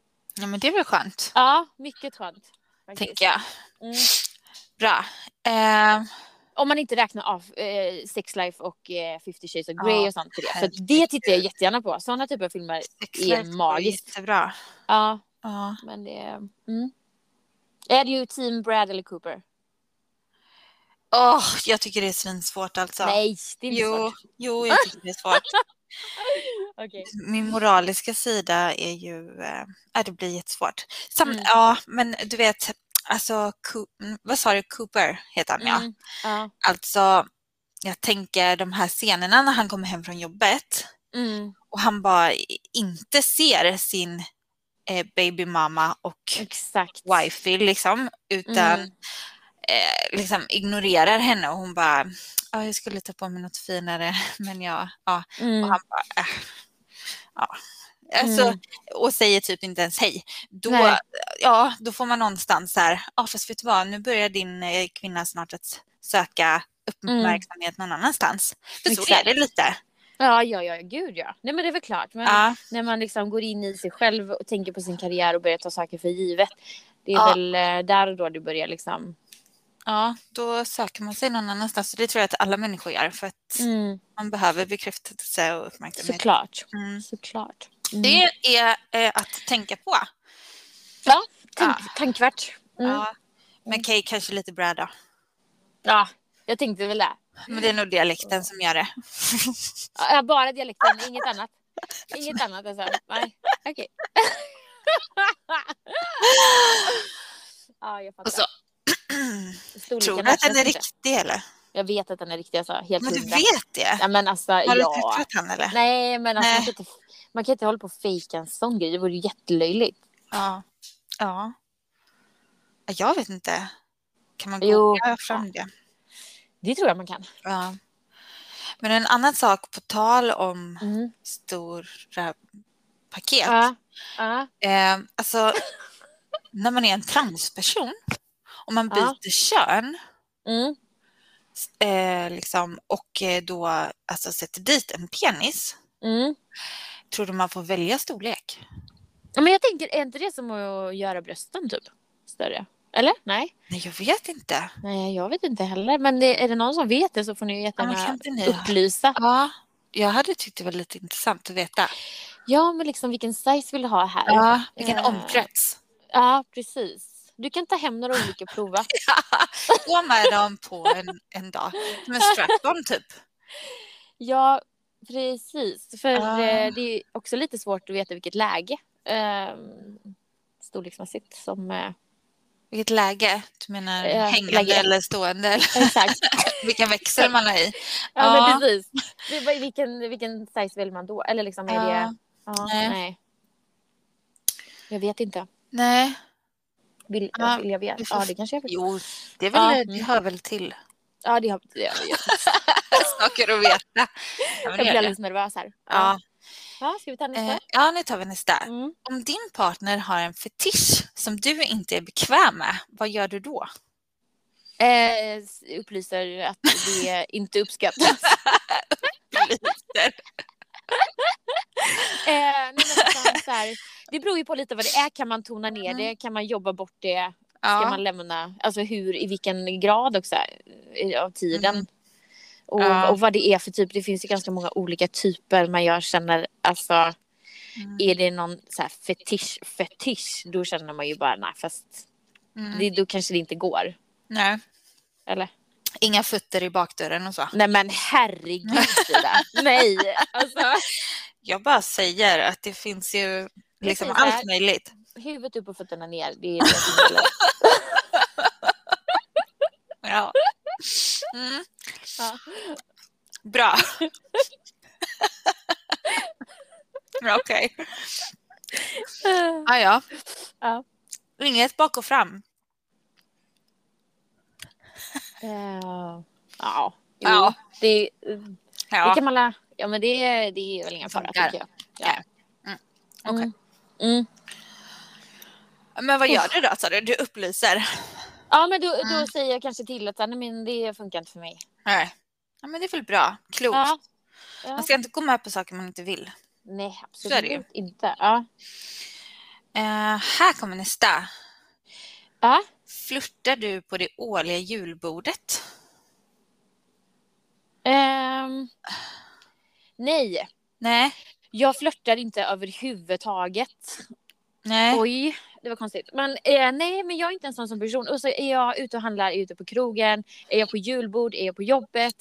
Speaker 1: Ja, men det är väl skönt,
Speaker 2: Ja, mycket skönt. faktiskt.
Speaker 1: tänker jag.
Speaker 2: Mm.
Speaker 1: Bra. Eh,
Speaker 2: Om man inte räknar av eh, Sex Life och eh, 50 Shades of Grey
Speaker 1: Ja,
Speaker 2: och sånt till det.
Speaker 1: herregud.
Speaker 2: För det tittar jag jättegärna på. Sådana typer av filmer.
Speaker 1: Exakt,
Speaker 2: magiskt.
Speaker 1: Jättebra.
Speaker 2: Ja,
Speaker 1: Ja.
Speaker 2: men det... Mm. Är det ju Team Brad eller Cooper?
Speaker 1: Åh, jag tycker det är svinsvårt alltså.
Speaker 2: Nej, det är inte
Speaker 1: jo,
Speaker 2: svårt.
Speaker 1: jo, jag tycker det är svårt.
Speaker 2: Okej.
Speaker 1: Min moraliska sida är ju... Eh, ja, det blir jättesvårt. Sam,
Speaker 2: Mm.
Speaker 1: Ja, men du vet, alltså... Co- mm, vad sa du? Cooper heter han, ja.
Speaker 2: Mm. Ja.
Speaker 1: Alltså, jag tänker de här scenerna när han kommer hem från jobbet
Speaker 2: Mm.
Speaker 1: och han bara i- inte ser sin eh, baby mama och
Speaker 2: Exakt.
Speaker 1: wifey liksom, utan
Speaker 2: Mm.
Speaker 1: eh, liksom ignorerar henne och hon bara Ja, jag skulle ta på mig något finare, men jag... Ja. Och
Speaker 2: Mm.
Speaker 1: han bara... Äh, ja. Alltså,
Speaker 2: Mm.
Speaker 1: Och säger typ inte ens hej. Då,
Speaker 2: Nej.
Speaker 1: ja, då får man någonstans så här, ja fast vet du vad, nu börjar din eh, kvinna snart att söka uppmärksamhet någon annanstans. För så är
Speaker 2: Mm. Exakt. Mm.
Speaker 1: det lite.
Speaker 2: Ja, ja, ja, gud ja. Nej, men det är väl klart. Men...
Speaker 1: Ja.
Speaker 2: när man liksom går in i sig själv och tänker på sin karriär och börjar ta saker för givet. Det är
Speaker 1: Ja.
Speaker 2: väl eh, där och då du börjar liksom...
Speaker 1: ja, då söker man sig någon annanstans. Och det tror jag att alla människor gör för att man behöver bekräftelse och uppmärksamhet.
Speaker 2: Mm, Såklart.
Speaker 1: Mm.
Speaker 2: Såklart.
Speaker 1: Det är eh, att tänka på.
Speaker 2: Ja, tank, tankvärt. Mm. Ja.
Speaker 1: Ja. Men Kay kanske lite bra då.
Speaker 2: jag tänkte väl det.
Speaker 1: Men det är nog dialekten som gör det.
Speaker 2: Ja, bara dialekten, inget annat. Inget annat alltså. Nej, okej. ja, jag fattar.
Speaker 1: Och så-
Speaker 2: Storleken
Speaker 1: Alltså, Tror du att den
Speaker 2: räknas
Speaker 1: är
Speaker 2: inte.
Speaker 1: riktig eller?
Speaker 2: Jag vet att den är riktig alltså. Helt
Speaker 1: Men du
Speaker 2: hundra.
Speaker 1: vet det?
Speaker 2: Ja, men alltså,
Speaker 1: Har du
Speaker 2: ja.
Speaker 1: träffat han eller?
Speaker 2: Nej, men alltså,
Speaker 1: Nej.
Speaker 2: Man, kan inte, man kan inte hålla på och fejka en sån grej. Det vore ju jättelöjligt.
Speaker 1: Ja. ja. Jag vet inte. Kan man
Speaker 2: Jo.
Speaker 1: googla fram det?
Speaker 2: Det tror jag man kan.
Speaker 1: Ja. Men en annan sak på tal om
Speaker 2: Mm.
Speaker 1: stora paket.
Speaker 2: Ja. Ja.
Speaker 1: Eh, alltså, när man är en transperson och man
Speaker 2: Ja.
Speaker 1: byter kön
Speaker 2: Mm.
Speaker 1: eh, liksom, och eh, då alltså, sätter dit en penis,
Speaker 2: Mm.
Speaker 1: tror du man får välja storlek?
Speaker 2: Ja, Men jag tänker, är inte det som att göra brösten typ? större. Eller? Nej?
Speaker 1: Nej, jag vet inte.
Speaker 2: Nej, jag vet inte heller. Men det, är det någon som vet det så får ni ju
Speaker 1: Ja, kan
Speaker 2: jättegärna
Speaker 1: inte ni?
Speaker 2: upplysa.
Speaker 1: Ja, jag hade tyckt det var lite intressant att veta.
Speaker 2: Ja, men liksom vilken size vill du ha här? Ja,
Speaker 1: Ja, vilken
Speaker 2: Eh.
Speaker 1: omkrets.
Speaker 2: precis. Du kan ta hem några olika och prova.
Speaker 1: Gå med dem på en, en dag. Som en strap-on typ.
Speaker 2: Ja, precis. För
Speaker 1: Ah.
Speaker 2: eh, det är också lite svårt att veta vilket läge eh, storleksmässigt som... Eh,
Speaker 1: Vilket läge? Du menar
Speaker 2: Ja,
Speaker 1: hängande
Speaker 2: läge.
Speaker 1: eller stående? Eller
Speaker 2: exakt.
Speaker 1: vilken växel man har i?
Speaker 2: Ja,
Speaker 1: Ja.
Speaker 2: men precis. Det är bara, vilken, vilken size väljer man då? Eller liksom är
Speaker 1: Ja.
Speaker 2: det... Ja,
Speaker 1: Nej.
Speaker 2: nej. Jag vet inte.
Speaker 1: Nej,
Speaker 2: Vill,
Speaker 1: Ja,
Speaker 2: vill jag veta?
Speaker 1: vi får-
Speaker 2: Ja, det kanske jag vill.
Speaker 1: jo, det, är väl,
Speaker 2: Ja.
Speaker 1: det hör väl till
Speaker 2: Ja, det har det har jag. gjort.
Speaker 1: saker att veta. Ja, men
Speaker 2: Jag
Speaker 1: det
Speaker 2: blir
Speaker 1: är det.
Speaker 2: alldeles nervös här.
Speaker 1: Ja,
Speaker 2: ja ska vi ta nästa?
Speaker 1: eh, ja, nu tar vi nästa.
Speaker 2: Mm.
Speaker 1: Om din partner har en fetisch som du inte är bekväm med, vad gör du då?
Speaker 2: Eh, s- upplyser att det inte uppskattas. eh, nej, men liksom så här, det beror ju på lite vad det är. Kan man tona ner det? Kan man jobba bort det? Ska
Speaker 1: Mm. Ja.
Speaker 2: man lämna? Alltså hur, i vilken grad också eh, av tiden?
Speaker 1: Mm.
Speaker 2: Och,
Speaker 1: Ja.
Speaker 2: och vad det är för typ. Det finns ju ganska många olika typer. Men jag känner alltså.
Speaker 1: Mm.
Speaker 2: Är det någon så här fetisch, fetisch. Då känner man ju bara nej fast.
Speaker 1: Mm.
Speaker 2: Det, då kanske det inte går.
Speaker 1: Nej.
Speaker 2: Eller?
Speaker 1: Inga fötter i bakdörren och så.
Speaker 2: Nej men herregud Frida. nej. Alltså,
Speaker 1: Jag bara säger att det finns ju liksom
Speaker 2: finns
Speaker 1: allt
Speaker 2: här.
Speaker 1: möjligt.
Speaker 2: huvudet upp och fötterna ner. Det är det som gäller.
Speaker 1: Ja. Mm.
Speaker 2: Ja.
Speaker 1: Bra. Okej. Ah, ja.
Speaker 2: Ja.
Speaker 1: Inget bak och fram.
Speaker 2: Eh, ja. Jo,
Speaker 1: Ja.
Speaker 2: Det, det
Speaker 1: Ja.
Speaker 2: kan man lä- Ja men det, det är väl ingen fara
Speaker 1: Funkar.
Speaker 2: tycker jag.
Speaker 1: Ja. Mm. Okej.
Speaker 2: Mm. Mm.
Speaker 1: Men vad gör du då? sa du? Du upplyser.
Speaker 2: Ja men då, då
Speaker 1: Mm.
Speaker 2: säger jag kanske till att så här, nej, men det funkar inte för mig.
Speaker 1: Nej. Ja, men det är väl bra. Klokt.
Speaker 2: Ja. Ja.
Speaker 1: Man ska inte gå med på saker man inte vill.
Speaker 2: Nej
Speaker 1: Så är det ju.
Speaker 2: absolut inte. Ja.
Speaker 1: Eh, här kommer nästa.
Speaker 2: Ja.
Speaker 1: Flörtar du på det årliga julbordet?
Speaker 2: Ehm, nej,
Speaker 1: Nej.
Speaker 2: jag flörtar inte överhuvudtaget.
Speaker 1: Nej.
Speaker 2: Oj, det var konstigt. Men eh, nej, men jag är inte en sån som person. Och så är jag ute och handlar, är ute på krogen, är jag på julbord, är jag på jobbet,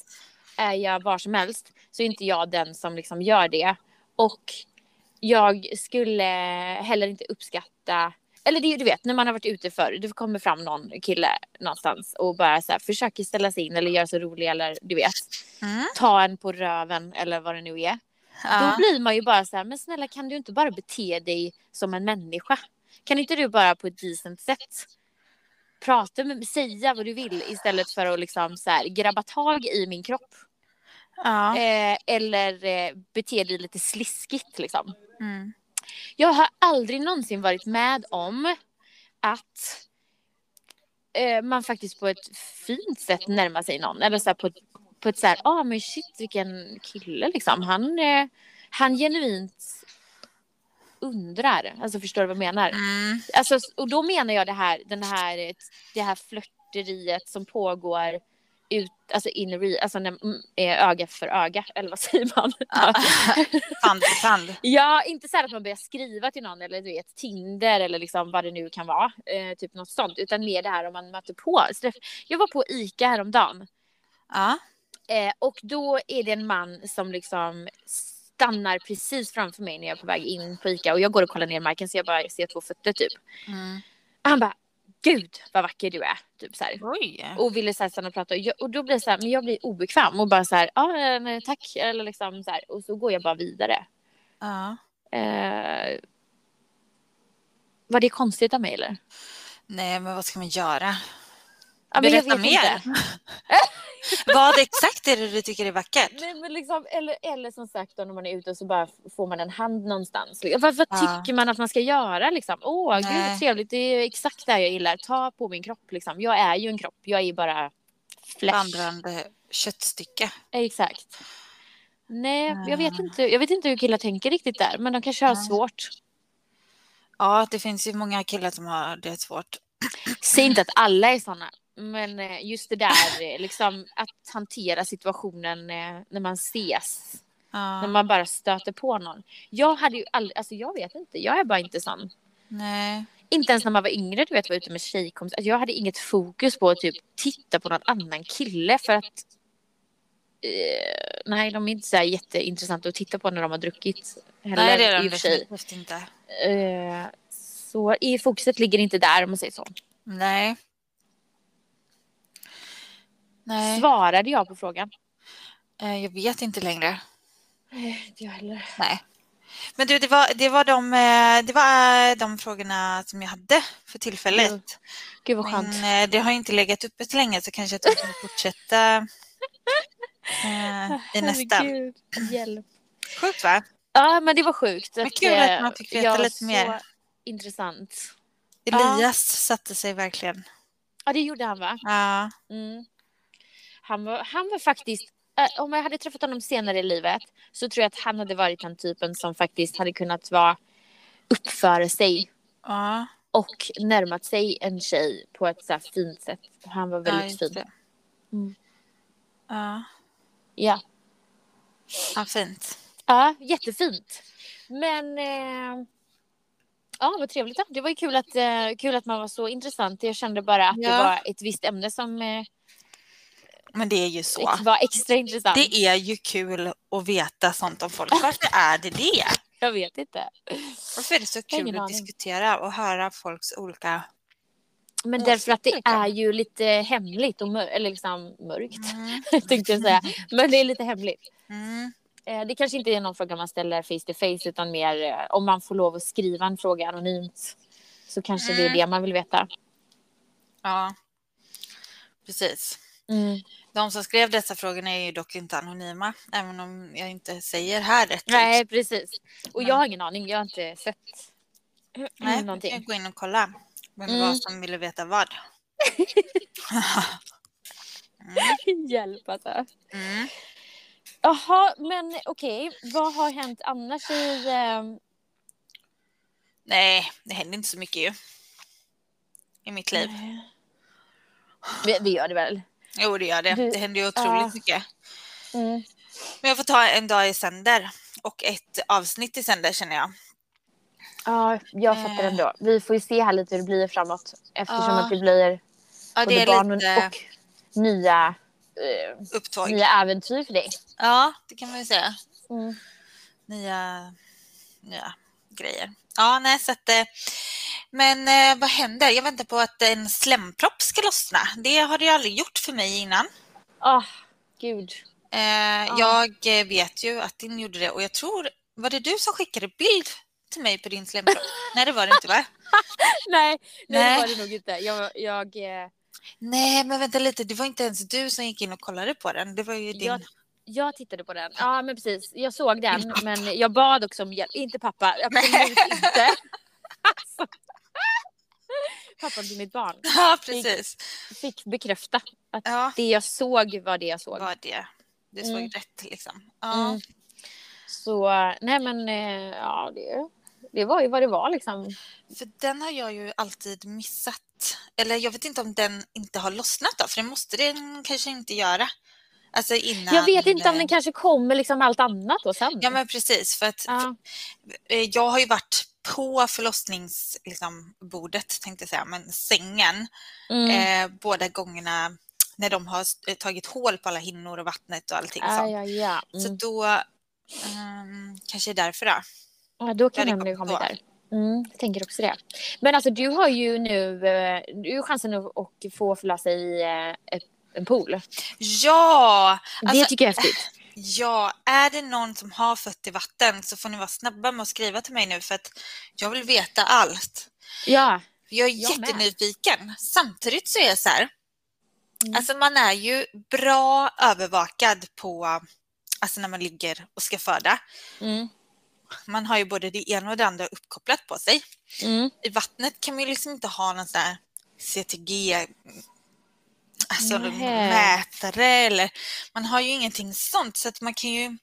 Speaker 2: är jag var som helst, så är inte jag den som liksom gör det. Och jag skulle heller inte uppskatta eller det, du vet, när man har varit ute förr, det kommer fram någon kille någonstans och bara så här, försöker ställa sig in eller göra sig rolig eller du vet,
Speaker 1: Mm.
Speaker 2: ta en på röven eller vad det nu är.
Speaker 1: Ja.
Speaker 2: Då blir man ju bara så här, men snälla kan du inte bara bete dig som en människa? Kan inte du bara på ett decent sätt prata med säga vad du vill istället för att liksom så här, grabba tag i min kropp?
Speaker 1: ja.
Speaker 2: Eh, eller eh, bete dig lite sliskigt liksom.
Speaker 1: Mm.
Speaker 2: Jag har aldrig någonsin varit med om att eh, man faktiskt på ett fint sätt närmar sig någon. Eller så här på, ett- på ett så här, ah men shit vilken kille liksom. Han, eh, han genuint undrar. Alltså förstår du vad jag menar?
Speaker 1: Mm.
Speaker 2: Alltså, och då menar jag det här, den här, eh, det här flörteriet som pågår ut, alltså in re, alltså när, mm, eh, öga för öga, eller vad säger man?
Speaker 1: Tand för tand.
Speaker 2: Ja, inte så här att man börjar skriva till någon eller du vet Tinder eller liksom vad det nu kan vara. Eh, typ något sånt. Utan mer det här om man möter på. Så det- Jag var på ICA häromdagen.
Speaker 1: Ja.
Speaker 2: Eh, och då är det en man som liksom stannar precis framför mig när jag är på väg in på ICA. Och jag går och kollar ner marken så jag bara ser två fötter typ.
Speaker 1: Mm.
Speaker 2: Han bara, gud vad vacker du är. Typ så här.
Speaker 1: Oj.
Speaker 2: Och ville så här stanna och prata. Och jag- Och då blir det så här, men jag blir obekväm och bara så här, ja eh, men tack. Eller liksom så här. Och så går jag bara vidare.
Speaker 1: Ja.
Speaker 2: Eh, var det konstigt av mig eller?
Speaker 1: Nej, men vad ska man göra?
Speaker 2: Ja, men jag
Speaker 1: Berätta
Speaker 2: vet
Speaker 1: mer.
Speaker 2: Inte.
Speaker 1: Vad exakt är det du tycker är vackert?
Speaker 2: Nej, men liksom, eller, eller som sagt då, när man är ute och så bara f- får man en hand någonstans. Liksom. Vad, vad
Speaker 1: Ja.
Speaker 2: tycker man att man ska göra liksom? Åh, gud
Speaker 1: Nej.
Speaker 2: vad trevligt. Det är ju exakt det här jag gillar. Ta på min kropp liksom. Jag är ju en kropp. Jag är ju bara flesh.
Speaker 1: Vandrande köttstycke.
Speaker 2: Exakt. Nej, jag vet
Speaker 1: Ah.
Speaker 2: inte. Jag vet inte hur killar tänker riktigt där, men de kanske har
Speaker 1: Nej.
Speaker 2: svårt.
Speaker 1: Ja, det finns ju många killar som har det svårt.
Speaker 2: Säg inte att alla är sådana. Men eh, just det där eh, liksom, att hantera situationen eh, när man ses.
Speaker 1: Ja,
Speaker 2: När man bara stöter på någon. Jag hade ju aldrig, alltså jag vet inte, jag är bara inte sån.
Speaker 1: nej.
Speaker 2: Inte ens när man var yngre, du vet, var ute med tjejkompisar. Alltså, jag hade inget fokus på att typ titta på någon annan kille för att eh, nej, de är inte så här jätteintressanta att titta på när de har druckit. Heller,
Speaker 1: nej, det är
Speaker 2: i
Speaker 1: de
Speaker 2: och för sig.
Speaker 1: definitivt inte.
Speaker 2: Eh, så i fokuset ligger inte där om man säger så.
Speaker 1: Nej. Nej,
Speaker 2: Svarade jag på frågan?
Speaker 1: eh, jag vet inte längre.
Speaker 2: Nej, inte jag heller.
Speaker 1: Nej. Men du, det var, det var, de, eh, det var eh, de frågorna som jag hade för tillfället.
Speaker 2: Mm, Gud vad skönt.
Speaker 1: Men eh, det har inte legat uppe så länge så kanske att vi kan fortsätta eh, i nästa.
Speaker 2: Ah, Herregud, hjälp.
Speaker 1: Sjukt va?
Speaker 2: Ja, men det var sjukt.
Speaker 1: Men kul att
Speaker 2: eh,
Speaker 1: man fick veta
Speaker 2: jag var
Speaker 1: lite
Speaker 2: så
Speaker 1: mer.
Speaker 2: Intressant. Ja.
Speaker 1: Elias satte sig verkligen.
Speaker 2: Ja, det gjorde han va?
Speaker 1: Ja,
Speaker 2: Mm. Han, var, han var faktiskt... eh, Om jag hade träffat honom senare i livet så tror jag att han hade varit den typen som faktiskt hade kunnat vara uppföra sig
Speaker 1: ja,
Speaker 2: och närmat sig en tjej på ett så här fint sätt. Han var
Speaker 1: ja,
Speaker 2: väldigt
Speaker 1: just
Speaker 2: fin.
Speaker 1: det.
Speaker 2: Mm.
Speaker 1: Ja,
Speaker 2: Ja.
Speaker 1: ja, fint.
Speaker 2: ja, jättefint. Men... Eh, ja, vad trevligt. Då. Det var ju kul att, eh, kul att man var så intressant. Jag kände bara att
Speaker 1: Ja.
Speaker 2: det var ett visst ämne som eh,
Speaker 1: Men det är ju så.
Speaker 2: var extra intressant.
Speaker 1: Det är ju kul att veta sånt om folk. Varför är det det?
Speaker 2: Jag vet inte.
Speaker 1: Varför är det så
Speaker 2: Jag har
Speaker 1: kul
Speaker 2: ingen
Speaker 1: att
Speaker 2: aning.
Speaker 1: diskutera och höra folks olika...
Speaker 2: Men
Speaker 1: Ja,
Speaker 2: därför att det
Speaker 1: verkligen.
Speaker 2: är ju lite hemligt och mör- eller liksom mörkt,
Speaker 1: Mm,
Speaker 2: tänkte jag säga. Men det är lite hemligt.
Speaker 1: mm,
Speaker 2: Eh, Det kanske inte är någon fråga man ställer face to face utan mer eh, om man får lov att skriva en fråga anonymt. Så kanske det
Speaker 1: Mm.
Speaker 2: är det man vill veta.
Speaker 1: ja, precis.
Speaker 2: Mm.
Speaker 1: De som skrev dessa frågorna är ju dock inte anonyma, även om jag inte säger här rätt. ut.
Speaker 2: Nej, precis. Och
Speaker 1: Nej.
Speaker 2: jag har ingen aning, jag har inte sett
Speaker 1: Nej, vi kan
Speaker 2: mm, någonting.
Speaker 1: gå in och kolla vem det
Speaker 2: Mm.
Speaker 1: var som ville veta vad.
Speaker 2: Hjälp alltså.
Speaker 1: Mm.
Speaker 2: Jaha, men okej, vad har hänt annars i... ehm,
Speaker 1: Nej, det händer inte så mycket ju. I mitt liv.
Speaker 2: Det- Det gör det väl?
Speaker 1: Jo, det gör det.
Speaker 2: Du-
Speaker 1: Det händer ju otroligt
Speaker 2: Ja.
Speaker 1: mycket.
Speaker 2: Mm.
Speaker 1: Men jag får ta en dag i sänder och ett avsnitt i sänder känner jag.
Speaker 2: Ja, jag fattar
Speaker 1: Eh.
Speaker 2: ändå. Vi får ju se här lite hur det blir framåt. Eftersom
Speaker 1: Ja.
Speaker 2: att det blir
Speaker 1: Ja,
Speaker 2: både
Speaker 1: det är
Speaker 2: barn
Speaker 1: lite
Speaker 2: och, och nya, eh,
Speaker 1: upptåg.
Speaker 2: nya äventyr för dig.
Speaker 1: Ja, det kan man ju säga.
Speaker 2: Mm.
Speaker 1: nya, nya grejer. Ja, nej, så att, eh, men eh, vad händer? Jag väntar på att en slempropp ska lossna. Det har det ju aldrig gjort för mig innan.
Speaker 2: Ah, gud.
Speaker 1: Eh, Jag eh, vet ju att din gjorde det och jag tror, var det du som skickade bild till mig på din slempropp? nej, det var det inte va?
Speaker 2: Nej, nej,
Speaker 1: Nej.
Speaker 2: det var det nog inte. Jag, jag, eh,
Speaker 1: Nej, men vänta lite. Det var inte ens du som gick in och kollade på den. Det var ju din...
Speaker 2: jag, jag tittade på den. Ja, men precis. Jag såg den, men jag bad också om hjälp. Inte pappa. Absolut inte. Alltså. Pappan till mitt barn
Speaker 1: Ja, precis.
Speaker 2: fick bekräfta att
Speaker 1: Ja,
Speaker 2: det jag såg var det jag såg.
Speaker 1: var det. Du såg
Speaker 2: Mm.
Speaker 1: rätt liksom. Ja.
Speaker 2: Mm. Så nej men eh, ja det, det var ju vad det var liksom.
Speaker 1: För den har jag ju alltid missat. Eller jag vet inte om den inte har lossnat då, för det måste den kanske inte göra. Alltså innan...
Speaker 2: jag vet inte om den kanske kommer liksom allt annat då sen.
Speaker 1: Ja men precis, för att
Speaker 2: Ja.
Speaker 1: eh, jag har ju varit på förlossningsbordet, liksom, bordet, tänkte jag säga, men sängen,
Speaker 2: Mm.
Speaker 1: eh, båda gångerna när de har eh, tagit hål på alla hinnor och vattnet och allting
Speaker 2: Ja,
Speaker 1: sånt.
Speaker 2: ja, ja.
Speaker 1: Så
Speaker 2: Mm.
Speaker 1: då ehm, kanske det är därför då.
Speaker 2: ja, då
Speaker 1: Ja,
Speaker 2: kan
Speaker 1: det
Speaker 2: den
Speaker 1: kommer
Speaker 2: ju komma
Speaker 1: då.
Speaker 2: där. Mm, jag tänker också det. Men alltså du har ju nu eh, du har chansen att och få förlösa i eh, ett- en pool.
Speaker 1: Ja! Alltså-
Speaker 2: det tycker jag är häftigt.
Speaker 1: Ja, är det någon som har fött i vatten så får ni vara snabba med att skriva till mig nu för att jag vill veta allt.
Speaker 2: Ja.
Speaker 1: Jag är
Speaker 2: Jag med.
Speaker 1: jättenyfiken. Samtidigt så är jag så här,
Speaker 2: Mm.
Speaker 1: alltså man är ju bra övervakad på, alltså när man ligger och ska föda.
Speaker 2: Mm.
Speaker 1: Man har ju både det ena och det andra uppkopplat på sig.
Speaker 2: Mm.
Speaker 1: I vattnet kan man ju liksom inte ha någon så här CTG, alltså någon
Speaker 2: Nähä.
Speaker 1: mätare eller man har ju ingenting sånt så att man kan ju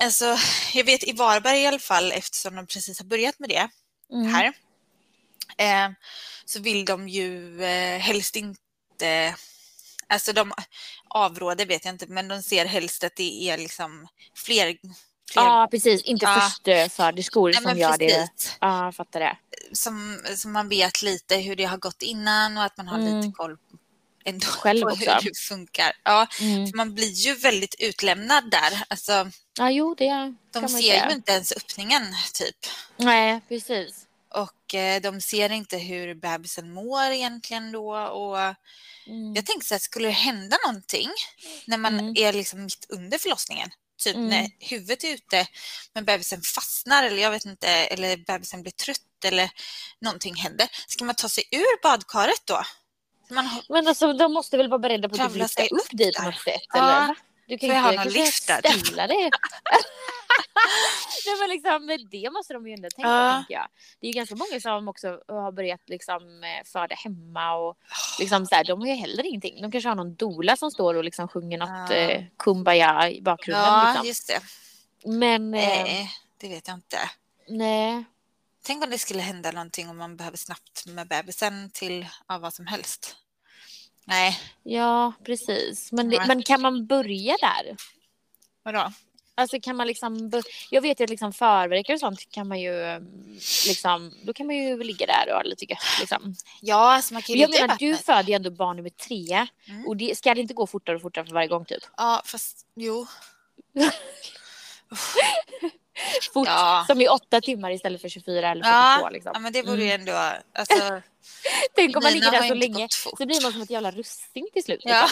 Speaker 1: Alltså, jag vet i Varberg i alla fall eftersom de precis har börjat med det
Speaker 2: Mm.
Speaker 1: här eh, så vill de ju eh, helst inte Alltså de avråder vet jag inte, men de ser helst att det är liksom fler... fler
Speaker 2: Ja, precis. Inte
Speaker 1: Ja.
Speaker 2: förstföderskor
Speaker 1: Nej,
Speaker 2: som
Speaker 1: men
Speaker 2: gör det.
Speaker 1: precis.
Speaker 2: Ja, jag fattar det.
Speaker 1: Som, som man vet lite hur det har gått innan och att man har
Speaker 2: Mm.
Speaker 1: lite koll ändå
Speaker 2: Själv
Speaker 1: på
Speaker 2: också.
Speaker 1: hur det funkar. Ja,
Speaker 2: Mm.
Speaker 1: för man blir ju väldigt utlämnad där. Alltså,
Speaker 2: Ja, jo, det kan
Speaker 1: de
Speaker 2: man
Speaker 1: ser
Speaker 2: säga.
Speaker 1: ju inte ens öppningen typ.
Speaker 2: Nej, precis.
Speaker 1: Och eh, de ser inte hur bebisen mår egentligen då. Och
Speaker 2: Mm.
Speaker 1: jag tänkte så här, skulle det hända någonting när man
Speaker 2: Mm.
Speaker 1: är liksom mitt under förlossningen? Typ
Speaker 2: Mm.
Speaker 1: när huvudet är ute men bebisen fastnar eller jag vet inte, eller bebisen blir trött eller någonting händer. Ska man ta sig ur badkaret då? Man har,
Speaker 2: Men alltså, de måste väl vara beredda på att du
Speaker 1: Kravla
Speaker 2: lyfta
Speaker 1: sig
Speaker 2: upp
Speaker 1: upp
Speaker 2: dig
Speaker 1: där.
Speaker 2: på något sätt?
Speaker 1: Ja,
Speaker 2: Eller? va? Du kan
Speaker 1: får
Speaker 2: ju
Speaker 1: jag ha
Speaker 2: inte
Speaker 1: någon
Speaker 2: kanske
Speaker 1: lift där?
Speaker 2: ställa dig. Nej, men liksom, men det måste de ju ändå tänka
Speaker 1: Ja.
Speaker 2: tänker jag. Det är ju ganska många som också har börjat liksom, eh, föda hemma och liksom, så här, de har ju heller ingenting. De kanske har någon dola som står och liksom, sjunger något
Speaker 1: Ja.
Speaker 2: eh, kumbaya i bakgrunden.
Speaker 1: ja,
Speaker 2: liksom.
Speaker 1: just det.
Speaker 2: Men eh,
Speaker 1: Nej, det vet jag inte.
Speaker 2: nej.
Speaker 1: Tänk om det skulle hända någonting om man behöver snabbt med bebisen till ja, vad som helst. Nej,
Speaker 2: Ja, precis. Men, det,
Speaker 1: Nej.
Speaker 2: men kan man börja där?
Speaker 1: vadå?
Speaker 2: Alltså kan man liksom, bör- jag vet ju att liksom förverkare och sånt kan man ju eh, liksom, då kan man ju ligga där och ha lite gött liksom.
Speaker 1: Ja, alltså man kan ju
Speaker 2: Jag
Speaker 1: ligga i
Speaker 2: menar du
Speaker 1: vattnet.
Speaker 2: föder ju ändå barn nummer tre
Speaker 1: Mm.
Speaker 2: och det, ska det inte gå fortare och fortare för varje gång typ?
Speaker 1: Ja, fast jo.
Speaker 2: Fort,
Speaker 1: Ja.
Speaker 2: Som i åtta timmar istället för 24 eller 42
Speaker 1: Ja,
Speaker 2: liksom.
Speaker 1: ja, men det borde ju ändå... Alltså,
Speaker 2: Tänk om man
Speaker 1: Nina
Speaker 2: ligger
Speaker 1: har
Speaker 2: där så
Speaker 1: inte
Speaker 2: länge
Speaker 1: gått fort.
Speaker 2: så blir man som ett jävla russin till slut. liksom.
Speaker 1: ja,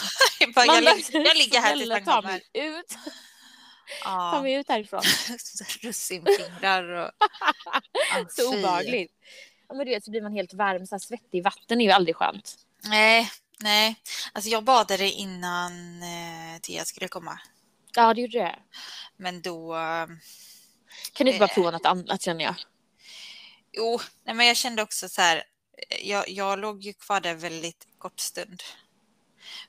Speaker 1: bara,
Speaker 2: Man
Speaker 1: jag,
Speaker 2: bara,
Speaker 1: lig- jag ligger här tills
Speaker 2: snälla,
Speaker 1: han
Speaker 2: ta
Speaker 1: kommer.
Speaker 2: mig ut, ta
Speaker 1: Ja,
Speaker 2: mig ut härifrån.
Speaker 1: russinfingrar och... Ja,
Speaker 2: Så
Speaker 1: fy.
Speaker 2: obehagligt. Ja, men du vet så blir man helt varm, så här svettig. Vatten är ju aldrig skönt.
Speaker 1: Nej, nej. Alltså jag badade innan eh, Tia skulle komma.
Speaker 2: Ja, det gjorde det.
Speaker 1: Men då... eh,
Speaker 2: Kan du inte bara prova något annat känner jag?
Speaker 1: Jo, nej, men jag kände också så här. eh, Jag, jag låg ju kvar där väldigt kort stund.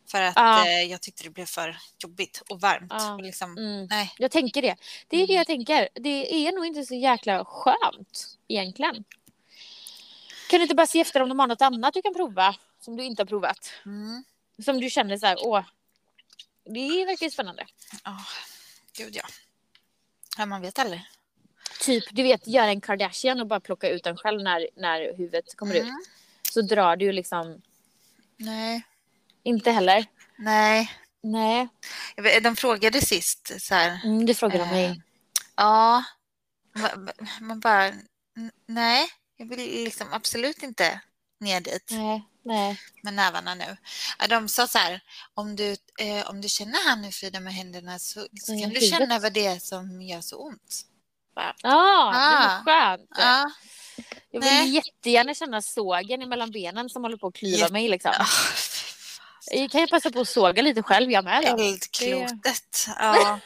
Speaker 1: För att
Speaker 2: Ja.
Speaker 1: eh, jag tyckte det blev för jobbigt och varmt.
Speaker 2: Ja.
Speaker 1: Och liksom,
Speaker 2: Mm.
Speaker 1: nej.
Speaker 2: Jag tänker det. Det är det jag tänker. Det är nog inte så jäkla skönt egentligen. Kan du inte bara se efter om de har något annat du kan prova som du inte har provat?
Speaker 1: Mm.
Speaker 2: Som du känner så här, åh, det verkar ju spännande.
Speaker 1: Oh, gud ja. ja. Man vet aldrig.
Speaker 2: Typ, du vet, göra en Kardashian och bara plocka ut den själv när, när huvudet kommer ut.
Speaker 1: Mm.
Speaker 2: Så drar du liksom,
Speaker 1: Nej.
Speaker 2: inte heller.
Speaker 1: Nej.
Speaker 2: Nej,
Speaker 1: Jag vet- De frågade sist så här.
Speaker 2: mm, det frågar de
Speaker 1: Eh,
Speaker 2: mig.
Speaker 1: Ja. Man- Man bara, "N- nej. Jag vill liksom absolut inte ner dit.
Speaker 2: Nej, nej.
Speaker 1: med nävarna nu. Ja, De sa så här, om du, eh, om du känner här nu Frida med händerna så, så
Speaker 2: Mm,
Speaker 1: kan du
Speaker 2: huvudet.
Speaker 1: känna vad det är som gör så ont.
Speaker 2: Ja,
Speaker 1: Ah.
Speaker 2: det är skönt.
Speaker 1: Ja,
Speaker 2: Jag vill
Speaker 1: Nej.
Speaker 2: jättegärna känna sågen mellan benen som håller på att klyva
Speaker 1: Jätte-
Speaker 2: mig. Liksom.
Speaker 1: Ja,
Speaker 2: Jag kan ju passa på att såga lite själv jag med. Då.
Speaker 1: eldklotet. Ja.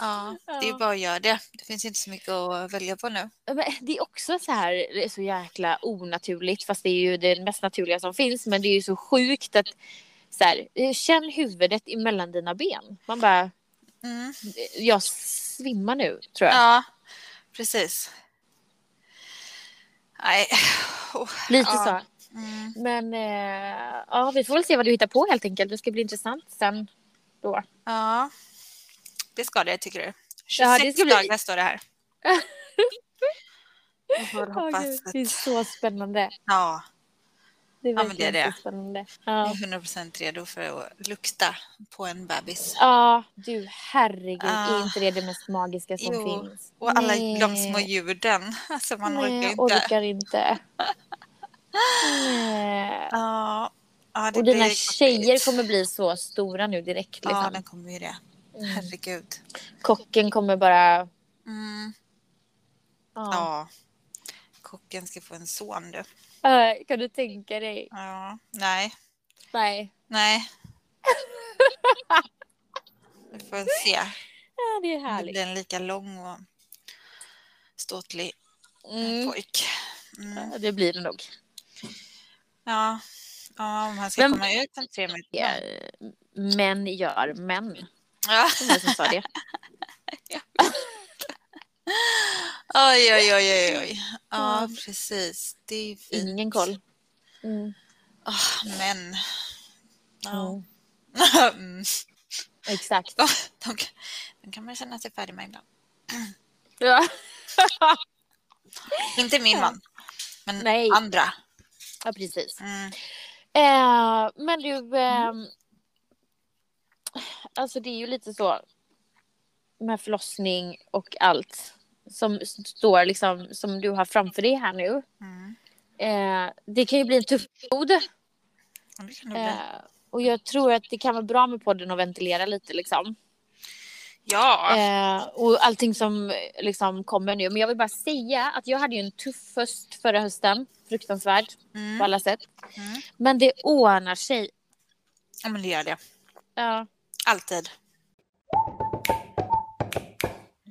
Speaker 1: Ah, ja, det är bara att göra det. Det finns inte så mycket att välja på nu.
Speaker 2: Men det är också så här det är så jäkla onaturligt fast det är ju det mest naturliga som finns. Men det är ju så sjukt att så här, eh, känn huvudet emellan dina ben. Man bara,
Speaker 1: Mm.
Speaker 2: jag svimmar nu tror jag.
Speaker 1: Ja, precis. Nej. Oh,
Speaker 2: lite
Speaker 1: ja.
Speaker 2: så.
Speaker 1: Mm.
Speaker 2: Men eh, ja, vi får väl se vad du hittar på helt enkelt. Det ska bli intressant sen. Då.
Speaker 1: Ja, det ska det tycker du. 26
Speaker 2: Ja, det ska bli-
Speaker 1: dagar står det här. Jag får väl
Speaker 2: Åh,
Speaker 1: hoppas
Speaker 2: Gud,
Speaker 1: att...
Speaker 2: det är så spännande.
Speaker 1: Ja,
Speaker 2: Det är
Speaker 1: Ja, men
Speaker 2: verkligen
Speaker 1: det är det.
Speaker 2: så spännande.
Speaker 1: jag
Speaker 2: Ja.
Speaker 1: är 100% redo för att lukta på en bebis.
Speaker 2: Ja, du herregud.
Speaker 1: Ah.
Speaker 2: Är inte det det mest magiska som
Speaker 1: Jo,
Speaker 2: finns?
Speaker 1: Och alla
Speaker 2: Nej.
Speaker 1: de små ljuden. Alltså man orkar
Speaker 2: Nej,
Speaker 1: inte.
Speaker 2: orkar inte. Nej.
Speaker 1: Ja, ja det
Speaker 2: Och dina
Speaker 1: blir
Speaker 2: tjejer
Speaker 1: jobbigt.
Speaker 2: kommer bli så stora nu direkt.
Speaker 1: Ja,
Speaker 2: Liksom.
Speaker 1: den kommer ju det.
Speaker 2: Mm.
Speaker 1: Herregud.
Speaker 2: Kocken kommer bara...
Speaker 1: Mm.
Speaker 2: Ja.
Speaker 1: Ja. Kocken ska få en son du.
Speaker 2: Äh, Kan du tänka dig?
Speaker 1: Ja, nej.
Speaker 2: Nej.
Speaker 1: Nej. Vi får se.
Speaker 2: Ja, det är
Speaker 1: Om Det
Speaker 2: härligt.
Speaker 1: blir en lika lång och ståtlig
Speaker 2: Mm.
Speaker 1: pojk. Mm.
Speaker 2: Ja, Det blir det nog.
Speaker 1: Ja. ja, om han ska
Speaker 2: Vem-
Speaker 1: komma ut om tre minuter.
Speaker 2: Ja, Eh, Män gör män.
Speaker 1: Ja.
Speaker 2: Det var jag som sa det.
Speaker 1: Oj, oj, oj, oj, oj. Ja, precis. Det är ju fint.
Speaker 2: Ingen koll. Mm.
Speaker 1: Ah, men. Ja.
Speaker 2: Mm.
Speaker 1: Mm.
Speaker 2: Exakt.
Speaker 1: De, de, kan- de kan man känna sig färdig med ibland.
Speaker 2: Ja.
Speaker 1: Inte min man, men
Speaker 2: Nej.
Speaker 1: andra.
Speaker 2: ja, precis.
Speaker 1: Mm.
Speaker 2: Eh, men du, ehm, alltså det är ju lite så med förlossning och allt som står liksom som du har framför dig här nu.
Speaker 1: Mm.
Speaker 2: Eh, det kan ju bli en tuff period.
Speaker 1: Ja, Det kan det bli.
Speaker 2: Eh, och jag tror att det kan vara bra med podden att ventilera lite liksom.
Speaker 1: Ja.
Speaker 2: Eh, och allting som eh, liksom kommer nu. Men jag vill bara säga att jag hade ju en tuff höst förra hösten. Fruktansvärd på
Speaker 1: Mm.
Speaker 2: alla sätt.
Speaker 1: Mm.
Speaker 2: Men det ordnar sig.
Speaker 1: ja, men det gör det.
Speaker 2: Ja.
Speaker 1: Alltid.